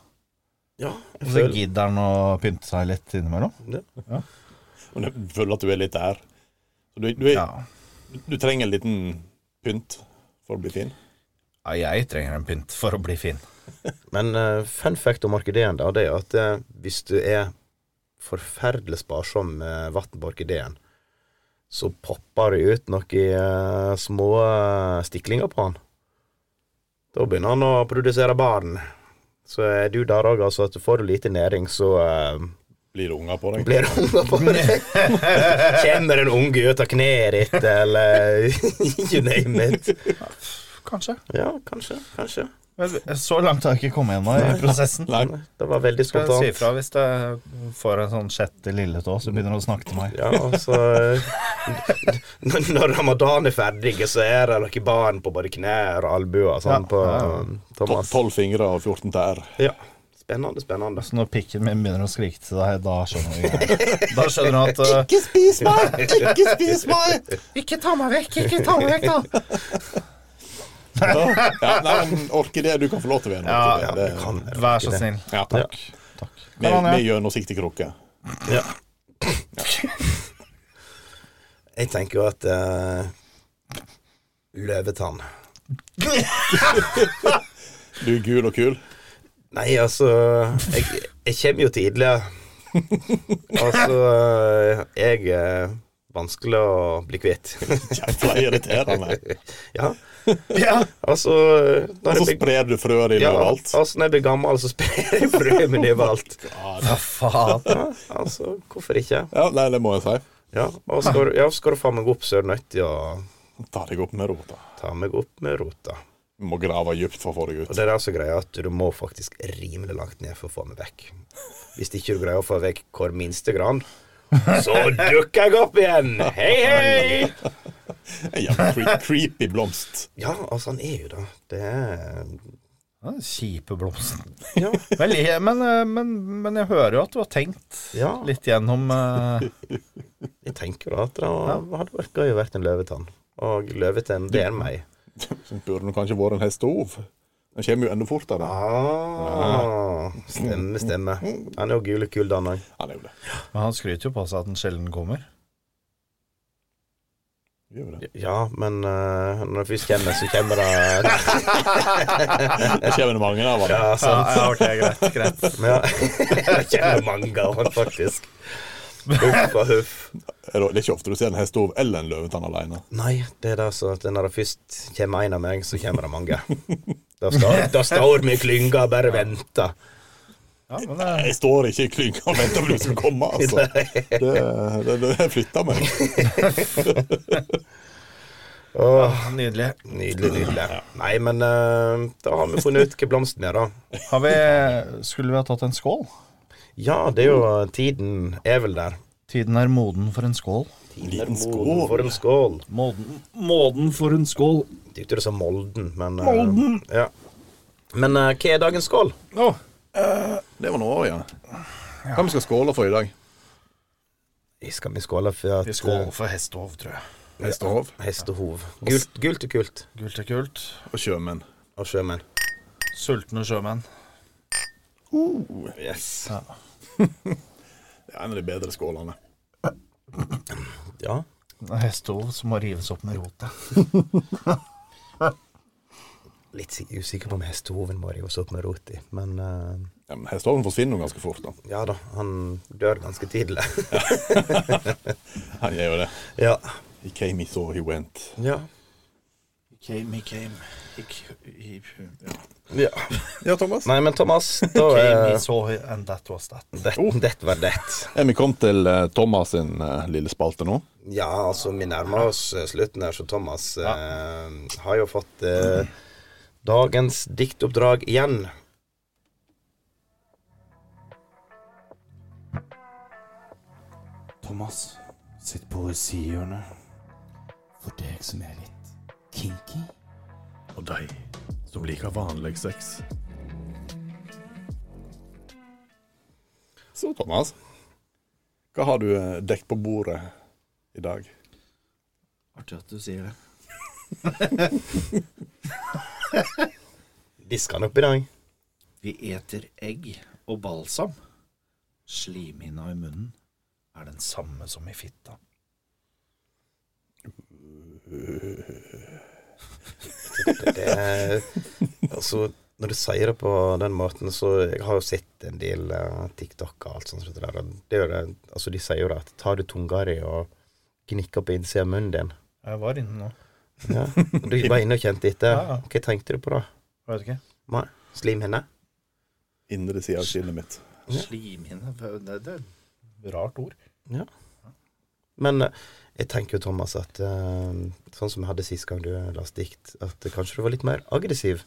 Speaker 2: ja, jeg
Speaker 4: Og så
Speaker 2: føler-
Speaker 4: gidder han å pynte seg litt innimellom.
Speaker 3: Men jeg føler at du er litt der. Du, du, er,
Speaker 4: Ja.
Speaker 3: du trenger en liten pynt for å bli fin.
Speaker 4: Ja, jeg trenger en pynt for å bli fin.
Speaker 2: Men eh, fun fact om orkideen, da, det er at eh, hvis du er forferdelig sparsom med vann på orkideen, så popper det ut noen eh, små eh, stiklinger på han. Da begynner han å produsere barn. Så er du der òg, altså. At får du lite næring, så eh,
Speaker 3: Blir det unger på deg?
Speaker 2: blir det unger på deg. Kommer en unge ut av kneet ditt, eller you name it.
Speaker 4: Kanskje.
Speaker 2: Ja, kanskje. Kanskje.
Speaker 4: Men Så langt har jeg ikke kommet gjennom i prosessen.
Speaker 3: Nei.
Speaker 2: Det var veldig
Speaker 4: Skal jeg si
Speaker 2: spontant.
Speaker 4: ifra hvis jeg får en sånn sjette lille tå som begynner å snakke til meg.
Speaker 2: Ja, altså eh, Når når ramadan er ferdig, så er det noen barn på både knær og albuer sånn,
Speaker 4: Ja,
Speaker 2: på
Speaker 4: ja, ja.
Speaker 2: eh,
Speaker 3: Tol-
Speaker 2: Thomas.
Speaker 3: Tolv fingre og 14 tær.
Speaker 2: Ja. Spennende, spennende.
Speaker 4: Så når pikken min begynner å skrike til deg, da skjønner du greia. Da skjønner du at eh,
Speaker 3: Ikke spis meg! Ikke spis meg!
Speaker 4: Ikke ta meg vekk! Ikke ta meg vekk, da!
Speaker 3: Ja, nei, men orkidé, du kan få lov til å være en
Speaker 4: Ja,
Speaker 3: orkidé.
Speaker 2: Ja,
Speaker 3: Det-
Speaker 2: du kan det.
Speaker 4: Vær så snill.
Speaker 3: Ja, takk. Med,
Speaker 4: Kan han, ja.
Speaker 3: med gjennomsiktig krukke.
Speaker 2: Ja. Jeg tenker jo at eh, Løvetann.
Speaker 3: Du er gul og kul.
Speaker 2: Nei, altså Jeg, jeg kommer jo tidligere. Altså eh, Jeg er vanskelig å bli kvitt.
Speaker 3: Jævla irriterende.
Speaker 2: Ja,
Speaker 4: Ja.
Speaker 2: altså
Speaker 3: Og
Speaker 2: når
Speaker 3: så
Speaker 2: jeg blir-
Speaker 3: sprer du frøa dine
Speaker 2: Ja,
Speaker 3: overalt.
Speaker 2: altså når jeg blir gammel, så sprer jeg frø min overalt.
Speaker 3: Ja,
Speaker 4: ja, faen.
Speaker 2: Ja, altså, hvorfor ikke?
Speaker 3: Ja, nei, det må jeg si.
Speaker 2: Ja, og skal du, ja, skal du faen meg opp, så er du nødt til å
Speaker 3: Ta deg opp med rota.
Speaker 2: ta meg opp med rota.
Speaker 3: Du må grave dypt for å få deg
Speaker 2: Og
Speaker 3: ut.
Speaker 2: det er altså greia at du må faktisk rimelig langt ned for å få meg vekk. Hvis ikke du greier å få vekk hver minste grann, så dukker jeg opp igjen! Hei, hei!
Speaker 3: En jævla cre creepy blomst.
Speaker 2: sånn Ja, altså, han er jo det. Det er
Speaker 4: Ja, kjipe blomsten.
Speaker 2: Ja.
Speaker 4: Men, jeg- men, eh, men, men jeg hører jo at du har tenkt
Speaker 2: ja.
Speaker 4: litt gjennom eh,
Speaker 2: Jeg tenker da at det hadde vært gøy å vært en løvetann. Og løvetann, det er meg.
Speaker 3: Så Sånn burde det kanskje vært en hestehov. Den kommer jo enda fortere.
Speaker 2: Ah, stemme, stemme. Han er jo gul og kul, da, han.
Speaker 3: Ja, det er jo det.
Speaker 4: Men han skryter jo på seg at den sjelden kommer.
Speaker 3: Det Gjør jo det.
Speaker 2: Ja, men eh, når vi først kommer, så kommer det
Speaker 3: Det kommer det mange av.
Speaker 2: Ja, sant.
Speaker 4: ja, ok, greit, greit.
Speaker 2: Men ja, det kommer mange av han, faktisk. Huff og huff.
Speaker 3: Det er ikke ofte du ser en hestehov eller en løvetann alene.
Speaker 2: Nei, det er det så at når det først kommer en av meg, så kommer det mange. Da står, da står vi i klynga og bare venter.
Speaker 4: Ja, men eh, det,
Speaker 3: Jeg står ikke i klynga og venter på du skal komme, altså. Det, det, det, det flytter meg.
Speaker 2: Åh,
Speaker 4: Nydelig.
Speaker 2: nydelig, nydelig. Nei, men eh, da har vi funnet ut hva blomsten er, da.
Speaker 4: Har vi, skulle vi ha tatt en skål?
Speaker 2: Ja, det er jo tiden er vel der.
Speaker 4: Tiden er moden for en skål.
Speaker 2: Tiden er moden for en skål.
Speaker 4: Moden, moden for en skål.
Speaker 2: Jeg tykte du sa Molden, men eh, ja. Men eh, hva er dagens skål?
Speaker 3: Det var noe år igjen. Hva vi skal skåle for i dag?
Speaker 2: Skal vi skåle for at eh,
Speaker 4: Skål for hestehov, tror jeg.
Speaker 3: Hestehov
Speaker 2: Hestehov. Gult, gult og kult.
Speaker 4: Gult er kult.
Speaker 3: og sjømenn.
Speaker 2: Av sjømenn.
Speaker 4: Sultne sjømenn.
Speaker 3: Oh,
Speaker 2: Yes.
Speaker 3: Det er en av de bedre skålene.
Speaker 2: Ja.
Speaker 4: Hestehov som må rives opp med rotet.
Speaker 2: Litt sik- usikker på om hestehoven må rives opp med rot i, men eh,
Speaker 3: Ja, men Hestehoven forsvinner jo ganske fort. da.
Speaker 2: ja da, han dør ganske tidlig.
Speaker 3: Han gjør jo det.
Speaker 2: ja.
Speaker 3: He came, he saw, he went.
Speaker 2: ja.
Speaker 4: Came, he came. He, he, he,
Speaker 2: Ja.
Speaker 3: Ja, Thomas.
Speaker 2: Nei, men Thomas, da
Speaker 4: came, he
Speaker 2: er
Speaker 4: saw, he- and that was that.
Speaker 2: det, det var det.
Speaker 3: Er vi kommet til eh, Thomas sin eh, lille spalte nå?
Speaker 2: Ja, altså, vi nærmer oss eh, slutten her, så Thomas eh, har jo fått eh, dagens diktoppdrag igjen.
Speaker 5: Thomas sitt poesihjørne. For deg som er litt kinky.
Speaker 3: Og de som liker vanlig sex. Så, Thomas. Hva har du eh, dekt på bordet i dag?
Speaker 5: Artig at du sier det.
Speaker 2: Disker han opp i dag?
Speaker 5: Vi eter egg og balsam. Slimhinna i munnen er den samme som i fitta.
Speaker 2: Det, det, er- altså, når du sier det på den måten, så Jeg har jo sett en del eh, TikTok og alt sånt. som Det der, og det er jo det, altså, de sier jo det at tar du tunga di og gnikker på innsida av munnen din
Speaker 4: Jeg var inne nå.
Speaker 2: ja. Du var inne og kjente etter.
Speaker 4: Ja, ja.
Speaker 2: Hva tenkte du på da?
Speaker 4: Jeg vet ikke.
Speaker 2: Nei, Slimhinne?
Speaker 3: Indre sida av kinnet mitt.
Speaker 2: Ja.
Speaker 5: Slimhinne det, det,
Speaker 4: Rart ord.
Speaker 2: Men eh, jeg tenker jo, Thomas, at eh, sånn som vi hadde sist gang du leste dikt, at kanskje du var litt mer aggressiv.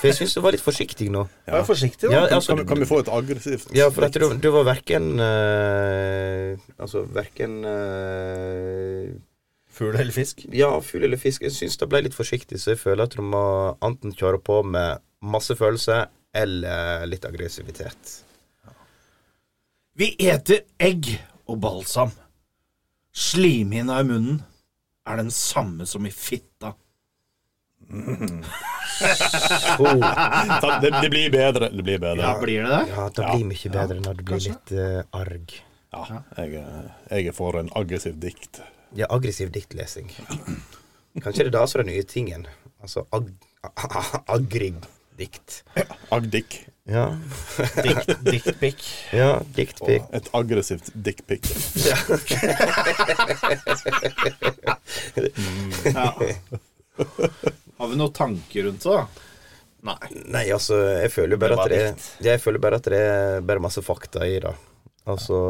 Speaker 2: For jeg syns du var litt forsiktig nå.
Speaker 3: Ja.
Speaker 4: Vær forsiktig, da.
Speaker 2: Ja,
Speaker 3: Kan,
Speaker 2: altså,
Speaker 3: kan, kan vi få et aggressivt
Speaker 2: Ja, for at du, du var verken eh, Altså verken eh,
Speaker 4: Fugl eller fisk?
Speaker 2: Ja, fugl eller fisk. Jeg syns det ble litt forsiktig, så jeg føler at du må enten kjøre på med masse følelse eller litt aggressivitet.
Speaker 5: Vi eter egg og balsam. Slimhinna i munnen er den samme som i fitta.
Speaker 2: Oh,
Speaker 3: Ta- det, det blir bedre. Det blir bedre.
Speaker 5: Ja, blir det det?
Speaker 2: ja, det blir mye bedre når du blir litt eh, arg.
Speaker 3: Ja, jeg, er- jeg er for en aggressiv dikt.
Speaker 2: Ja, aggressiv diktlesing. Kanskje det er det som er den nye tingen. Altså ag agrig-dikt.
Speaker 3: Agdik.
Speaker 2: Ja.
Speaker 4: Dikt, diktpic.
Speaker 2: ja, diktpic.
Speaker 3: Et aggressivt dickpic.
Speaker 5: Har vi noen tanker rundt det? da?
Speaker 2: Nei, altså, jeg føler jo bare
Speaker 5: Det var
Speaker 2: at det er Jeg føler bare at det er bare masse fakta i det. Altså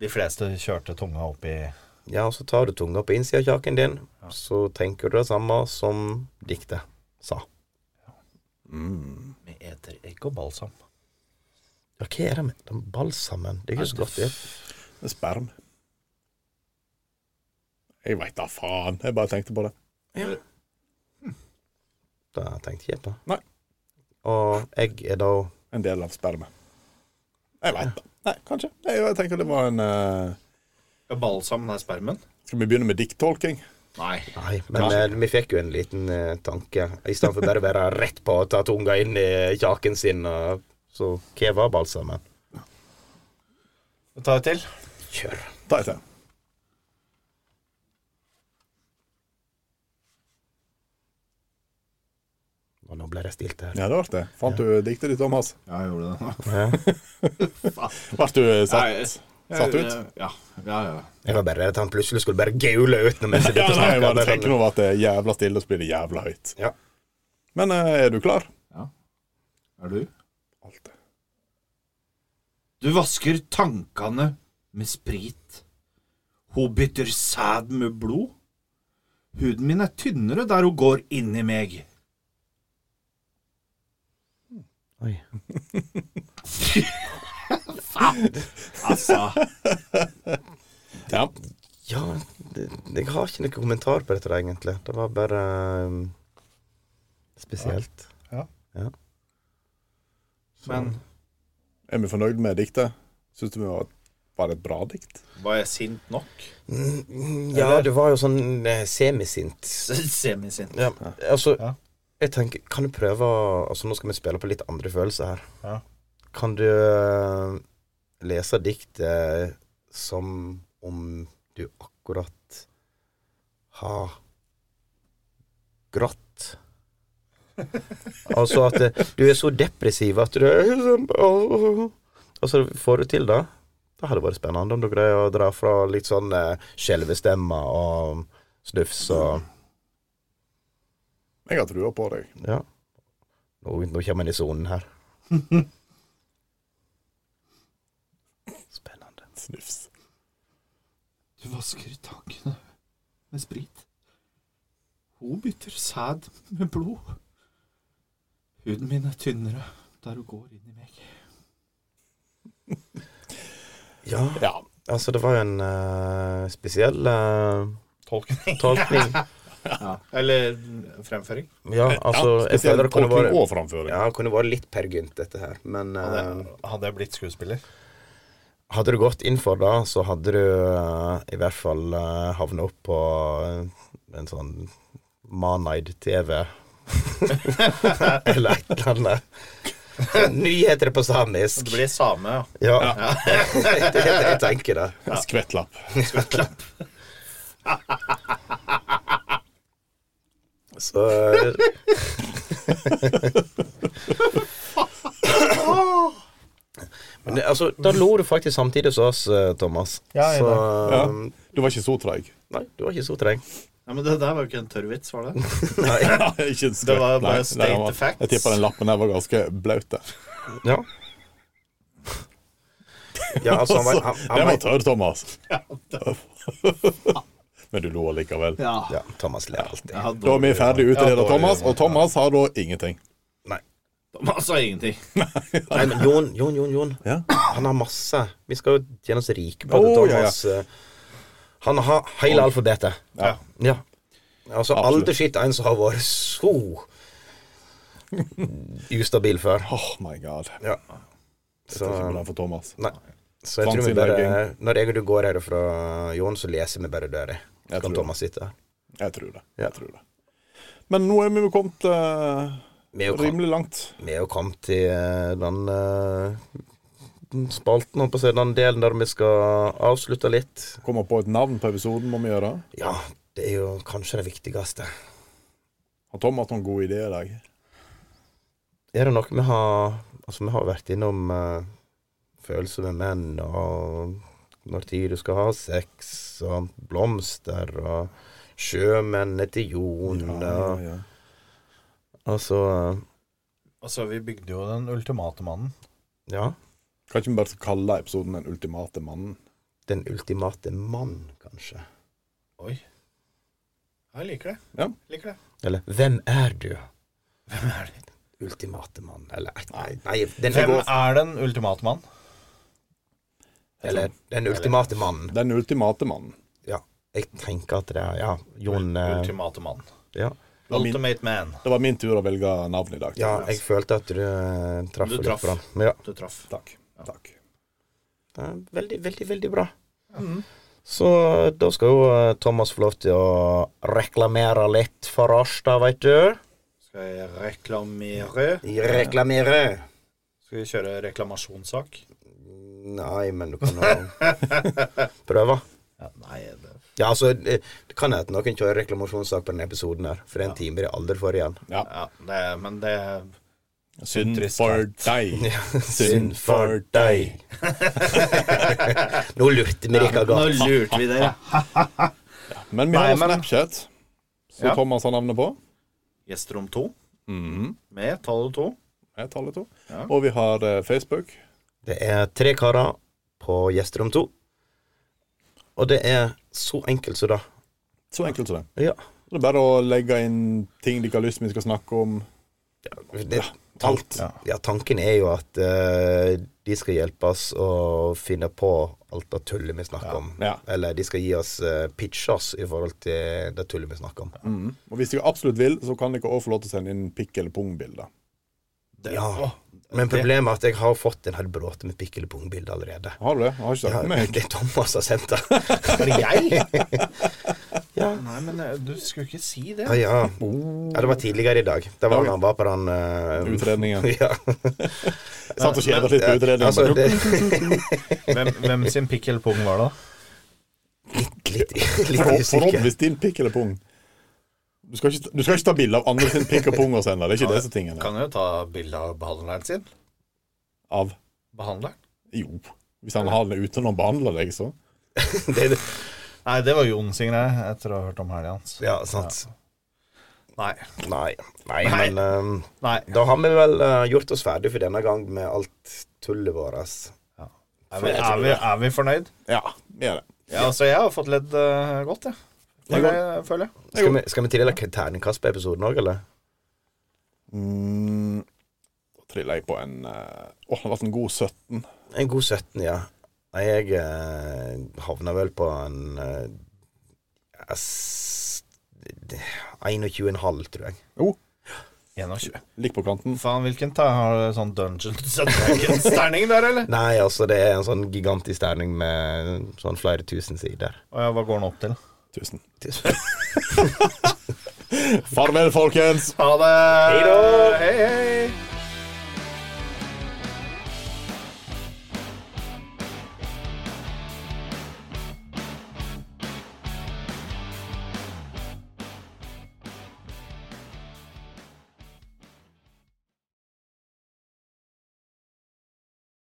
Speaker 4: De fleste kjørte tunga opp i
Speaker 2: Ja, og så tar du tunga på innsida av kjaken din, så tenker du det samme som diktet sa.
Speaker 3: Mm.
Speaker 5: Vi eter egg.
Speaker 4: Ikke balsam.
Speaker 2: Ja, hva er det med den balsamen? Det er ikke så godt. Det.
Speaker 3: Sperm. Jeg veit da faen. Jeg bare tenkte på det.
Speaker 2: Det tenkte jeg på.
Speaker 3: Nei.
Speaker 2: Og egg er da
Speaker 3: En del av sperme. Jeg veit da. Nei, kanskje. Nei, jeg tenker det var en eh,
Speaker 5: Balsamen er spermen?
Speaker 3: Skal vi begynne med dikttolking?
Speaker 5: Nei.
Speaker 2: Nei, men eh, vi fikk jo en liten eh, tanke. I stedet for bare å være rett på å ta tunga inn i kjaken sin. og så hva var balsamen?
Speaker 4: Ta et til.
Speaker 2: Kjør.
Speaker 3: Ta et til.
Speaker 2: Og nå ble det stilt her.
Speaker 3: Ja, det ble det. Fant du diktet ditt, Thomas?
Speaker 5: Ja, jeg gjorde det.
Speaker 3: Ble du
Speaker 5: Nei,
Speaker 3: satt, satt ut?
Speaker 5: Ja. ja, ja.
Speaker 2: Jeg var bare redd at han plutselig skulle bare gaule ut når vi sitter
Speaker 3: Ja,
Speaker 2: og
Speaker 3: nei, jeg
Speaker 2: snakker.
Speaker 3: bare
Speaker 2: men-
Speaker 3: tenker over at det er jævla stille, og så blir det jævla høyt.
Speaker 2: Ja.
Speaker 3: Men eh, er du klar?
Speaker 5: Er du?
Speaker 3: Alt.
Speaker 5: Du vasker tankene med sprit. Hun bytter sæd med blod. Huden min er tynnere der hun går inni meg.
Speaker 2: Oi.
Speaker 5: Altså
Speaker 3: Ja.
Speaker 2: Ja, det, jeg har ikke noen kommentar på dette, egentlig. Det var bare eh, spesielt.
Speaker 4: Men
Speaker 3: Er vi fornøyd med diktet? Syns du vi var, var det et bra dikt?
Speaker 4: var jeg sint nok?
Speaker 2: Mm, Ja, det var jo sånn eh, semisint.
Speaker 5: Semisint.
Speaker 2: Ja, altså
Speaker 4: Ja.
Speaker 2: Jeg tenker, kan du prøve å- Altså, nå skal vi spille på litt andre følelser her.
Speaker 4: Ja.
Speaker 2: Kan du eh, lese diktet som om du akkurat har grått? altså at eh, du er så depressiv at du er sånn «Åh». Og så får du til det. Det hadde vært spennende om du greier å dra fra litt sånn eh, skjelvestemme og snufs og
Speaker 3: Jeg har trua på deg.
Speaker 2: ja. Nå, nå kommer en i sonen her. Spennende.
Speaker 3: Snufs.
Speaker 5: Du vasker tankene med sprit. Hun bytter sæd med blod. Huden min er tynnere der hun går inn i meg.
Speaker 2: Ja,
Speaker 3: Ja.
Speaker 2: altså det var jo en eh, spesiell eh,
Speaker 4: Tolkning.
Speaker 2: tolkning.
Speaker 4: Eller fremføring.
Speaker 2: Ja, altså
Speaker 3: ja,
Speaker 2: jeg føler
Speaker 3: spesielt
Speaker 2: det kunne
Speaker 3: tolkning
Speaker 2: vært
Speaker 3: og framføring.
Speaker 2: ja, det kunne vært litt Per Gynt, dette her. Men
Speaker 4: Hadde,
Speaker 2: eh,
Speaker 4: hadde jeg blitt skuespiller?
Speaker 2: hadde du gått inn for det, så hadde du eh, i hvert fall uh, havna opp på eh, en sånn Maneid-TV. Eller et eller annet. Nyheter på samisk.
Speaker 4: Det blir same, ja.
Speaker 2: Ja. det, det, jeg tenker det.
Speaker 3: Skvettlapp.
Speaker 2: Så eh, Men det, altså, da lo du faktisk samtidig som oss, eh, Thomas.
Speaker 4: Ja, jeg
Speaker 2: så
Speaker 3: Ja.
Speaker 2: um,
Speaker 3: Du var ikke så treig.
Speaker 2: Nei, du var ikke så treng.
Speaker 4: Ja, men det der var jo ikke en tørr vits, var det?
Speaker 2: Nei.
Speaker 3: ikke en skvett.
Speaker 4: Det var
Speaker 3: Nei,
Speaker 4: bare
Speaker 3: nei,
Speaker 4: state
Speaker 3: den var-
Speaker 4: the facts.
Speaker 3: Jeg tipper den lappen der var ganske blaut. der.
Speaker 2: Ja. Ja, altså, han,
Speaker 3: Altså,
Speaker 2: var- han,
Speaker 3: den
Speaker 2: han,
Speaker 3: var
Speaker 2: var-
Speaker 3: tørr, Thomas. Men du lo allikevel.
Speaker 5: Ja.
Speaker 2: ja, Thomas ler alltid.
Speaker 3: Da er vi ferdig
Speaker 4: Ja,
Speaker 3: utredet,
Speaker 4: dårlig.
Speaker 3: Thomas, og Thomas har da ingenting.
Speaker 5: Man sa ingenting.
Speaker 2: Nei, men Jon, Jon, Jon, Jon.
Speaker 3: Ja.
Speaker 2: Han har masse. Vi skal jo tjene oss rike på
Speaker 3: Å,
Speaker 2: det.
Speaker 3: ja, ja.
Speaker 2: Thomas, eh, Han har hele alfabetet.
Speaker 3: Ja.
Speaker 2: Ja. Altså,
Speaker 3: Absolutt.
Speaker 2: aldri skitt en som har vært så ustabil før.
Speaker 3: Oh my god.
Speaker 2: Ja.
Speaker 3: Dette er ikke bra for Thomas.
Speaker 2: Nei. Så jeg tror vi bare Når jeg og du går herfra, Jon, så leser vi bare døra. Så
Speaker 3: Jeg tror
Speaker 2: kan
Speaker 3: det.
Speaker 2: Thomas sitte her.
Speaker 3: Jeg tror det.
Speaker 2: Ja.
Speaker 3: Jeg tror det. Men nå er vi jo kommet eh,
Speaker 2: Vi er jo kom-
Speaker 3: rimelig langt.
Speaker 2: vi er jo kommet til eh, den eh, den spalten, holdt på å si, den delen der vi skal avslutte litt.
Speaker 3: Kommer på et navn på episoden, må vi gjøre.
Speaker 2: Ja, det er jo kanskje det viktigste.
Speaker 3: Har Thomas noen gode ideer i dag?
Speaker 2: Er det noe vi har Altså, vi har vært innom eh, følelser med menn, og når tid du skal ha sex, og blomster, og sjømennene til Jon, og
Speaker 3: ja.
Speaker 2: Altså
Speaker 4: Altså, vi bygde jo den ultimate mannen.
Speaker 2: eh, Ja.
Speaker 3: Kan ikke vi bare kalle episoden 'Den ultimate mannen'?
Speaker 2: Den ultimate mann, kanskje.
Speaker 4: Oi. Jeg liker det.
Speaker 3: Ja.
Speaker 4: Liker det.
Speaker 2: Eller Hvem er du?
Speaker 4: Hvem er det?
Speaker 2: Ultimate mann, eller et- Nei, nei den er
Speaker 4: Hvem
Speaker 2: god.
Speaker 4: er den ultimate mann?
Speaker 2: Eller Den ultimate mannen.
Speaker 3: Den ultimate mannen.
Speaker 2: Ja. Jeg tenker at det er Ja, Jon eh,
Speaker 4: altså. Ultimate mann.
Speaker 2: ja.
Speaker 3: var min-
Speaker 4: Ultimate Man.
Speaker 3: Det var min tur å velge navn i dag. Altså,
Speaker 2: Ja, jeg følte at du eh, traff
Speaker 4: Du
Speaker 2: litt
Speaker 4: traff.
Speaker 2: på den. Men ja,
Speaker 4: Du traff.
Speaker 3: Takk. Takk.
Speaker 2: det er veldig, veldig, veldig bra.
Speaker 4: Mhm.
Speaker 2: Så da skal jo eh, Thomas få lov til å reklamere litt for oss, da, veit du.
Speaker 4: Skal jeg reklamere?
Speaker 2: Reklamere.
Speaker 4: Skal vi kjøre reklamasjonssak?
Speaker 2: Nei, men du kan jo prøve.
Speaker 4: Ja, nei, det
Speaker 2: Ja, altså, det det kan hende at noen kjører reklamasjonssak på den episoden her, for det er en time de aldri får igjen.
Speaker 4: Ja, det, men det
Speaker 3: Synd
Speaker 4: Trist
Speaker 3: for deg.
Speaker 2: Synd for deg. Nå lurte vi dere
Speaker 4: Nå
Speaker 2: godt.
Speaker 4: lurte vi dere.
Speaker 3: Men vi har
Speaker 4: Nei,
Speaker 3: også
Speaker 4: men-
Speaker 3: Snapchat, som
Speaker 4: Ja.
Speaker 3: Thomas har navnet på.
Speaker 4: Gjesterom 2
Speaker 3: Mhm.
Speaker 4: med tallet 2.
Speaker 3: er tallet to.
Speaker 4: Ja.
Speaker 3: Og vi har eh, Facebook.
Speaker 2: Det er tre karer på gjesterom to. Og det er så enkelt som det.
Speaker 3: Så enkelt som det.
Speaker 2: Ja.
Speaker 3: Det er bare å legge inn ting de ikke har lyst til vi skal snakke om.
Speaker 2: det tank,
Speaker 3: ja.
Speaker 2: ja, tanken er jo at eh, de skal hjelpe oss å finne på alt det tullet vi snakker om.
Speaker 3: Ja.
Speaker 2: Eller de skal gi oss eh, pitche oss i forhold til det tullet vi snakker om.
Speaker 3: Mhm. Og hvis dere absolutt vil, så kan dere også få lov til å sende inn pikk- eller pungbilder.
Speaker 2: Ja. Men problemet er at jeg har fått en hel bråte med pikk eller pungbilde allerede.
Speaker 3: Har du det? Jeg har ikke
Speaker 2: Ja,
Speaker 3: sagt det meg.
Speaker 2: det er Thomas som har sendt det.
Speaker 4: Var det jeg?
Speaker 2: Ja.
Speaker 4: Nei, men eh, du skulle ikke si det.
Speaker 2: Ja, ja. ja, det var tidligere i dag. Det var da han var på den eh,
Speaker 3: Utredningen.
Speaker 2: Ja.
Speaker 3: Satt og kjeda litt på utredningen.
Speaker 2: Altså,
Speaker 3: men-
Speaker 2: det,
Speaker 4: Hvem, hvem sin pikk eller pung var det?
Speaker 2: litt, litt, litt
Speaker 3: For- Forhåpentligvis
Speaker 2: usikker.
Speaker 3: din pikk eller pung. Du skal ikke, du skal ikke ta bilde av andre sin pikk og pung og sende. Det er ikke disse tingene.
Speaker 4: Kan jo ta bilde av behandleren sin.
Speaker 3: Av
Speaker 4: Behandleren?
Speaker 3: Jo. Hvis han har den uten å behandle deg, så.
Speaker 2: Det, det-
Speaker 4: Nei, det var Jon sin greie, etter å ha hørt om helga hans.
Speaker 2: ja, sant.
Speaker 4: Nei.
Speaker 2: Nei. Nei,
Speaker 4: Nei.
Speaker 2: men ehm,
Speaker 4: Nei.
Speaker 2: da har vi vel eh, gjort oss ferdig for denne gang med alt tullet vårt.
Speaker 4: Er vi, er vi, er vi fornøyd?
Speaker 3: Ja, vi er det.
Speaker 4: Ja, altså, jeg har fått ledd eh, godt, jeg. Føler jeg. Føler jeg.
Speaker 2: Skal vi, skal vi tildele terningkast på episoden òg, eller?
Speaker 3: Mm, da triller jeg på en eh, Åh, det har vært en god 17.
Speaker 2: En god 17, ja. Nei, Jeg eh, havna vel på en eh, s- 21,5, tror jeg.
Speaker 4: 21.
Speaker 3: Ligg på kanten.
Speaker 4: Faen, hvilken ta Har du sånn Dungeons and Dragons-terning der, eller?
Speaker 2: Nei, altså, det er en sånn gigantisk terning med sånn flere tusen sider.
Speaker 4: Å ja, hva går den opp til?
Speaker 3: Tusen. Farvel, folkens!
Speaker 4: Ha det!
Speaker 2: Hei da!
Speaker 4: Hei, hei!